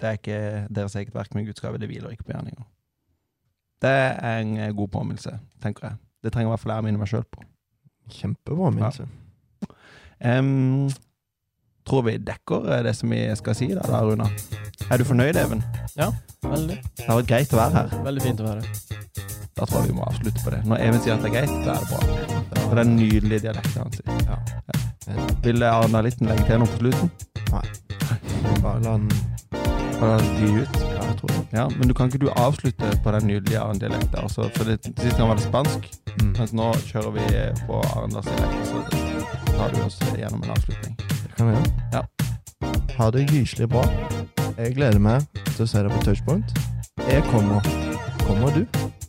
Speaker 2: Det er ikke deres eget verk, men Guds gave. Det hviler ikke på gjerninger. Det er en eh, god påminnelse, tenker jeg. Det trenger i hvert fall jeg å minne meg sjøl på.
Speaker 1: Kjempebra, Minse.
Speaker 2: Em, tror vi dekker eh, det som vi skal si da, da Runa. Er du fornøyd, Even?
Speaker 3: Veldig,
Speaker 2: Det har vært greit å være her.
Speaker 3: veldig fint å være.
Speaker 2: Da tror jeg vi må avslutte på det. Når Even sier at det er greit, da er det bra. For det er en nydelig dialekt han sier.
Speaker 1: Ja.
Speaker 2: Vil Arna Litten legge til noe på slutten?
Speaker 1: Bare la den
Speaker 2: Bare dy ut.
Speaker 1: Ja, jeg tror det.
Speaker 2: Ja, men du kan ikke du avslutte på den nydelige Arendal-dialekten? Altså, for det, sist gang var det spansk,
Speaker 1: Mm.
Speaker 2: mens nå kjører vi på Arendalsdialekt, så tar du oss gjennom en avslutning.
Speaker 1: Det kan vi gjøre.
Speaker 2: Ja.
Speaker 1: Ha det gyselig bra. Jeg gleder meg til å se deg på touchpoint. Jeg kommer. kommer du?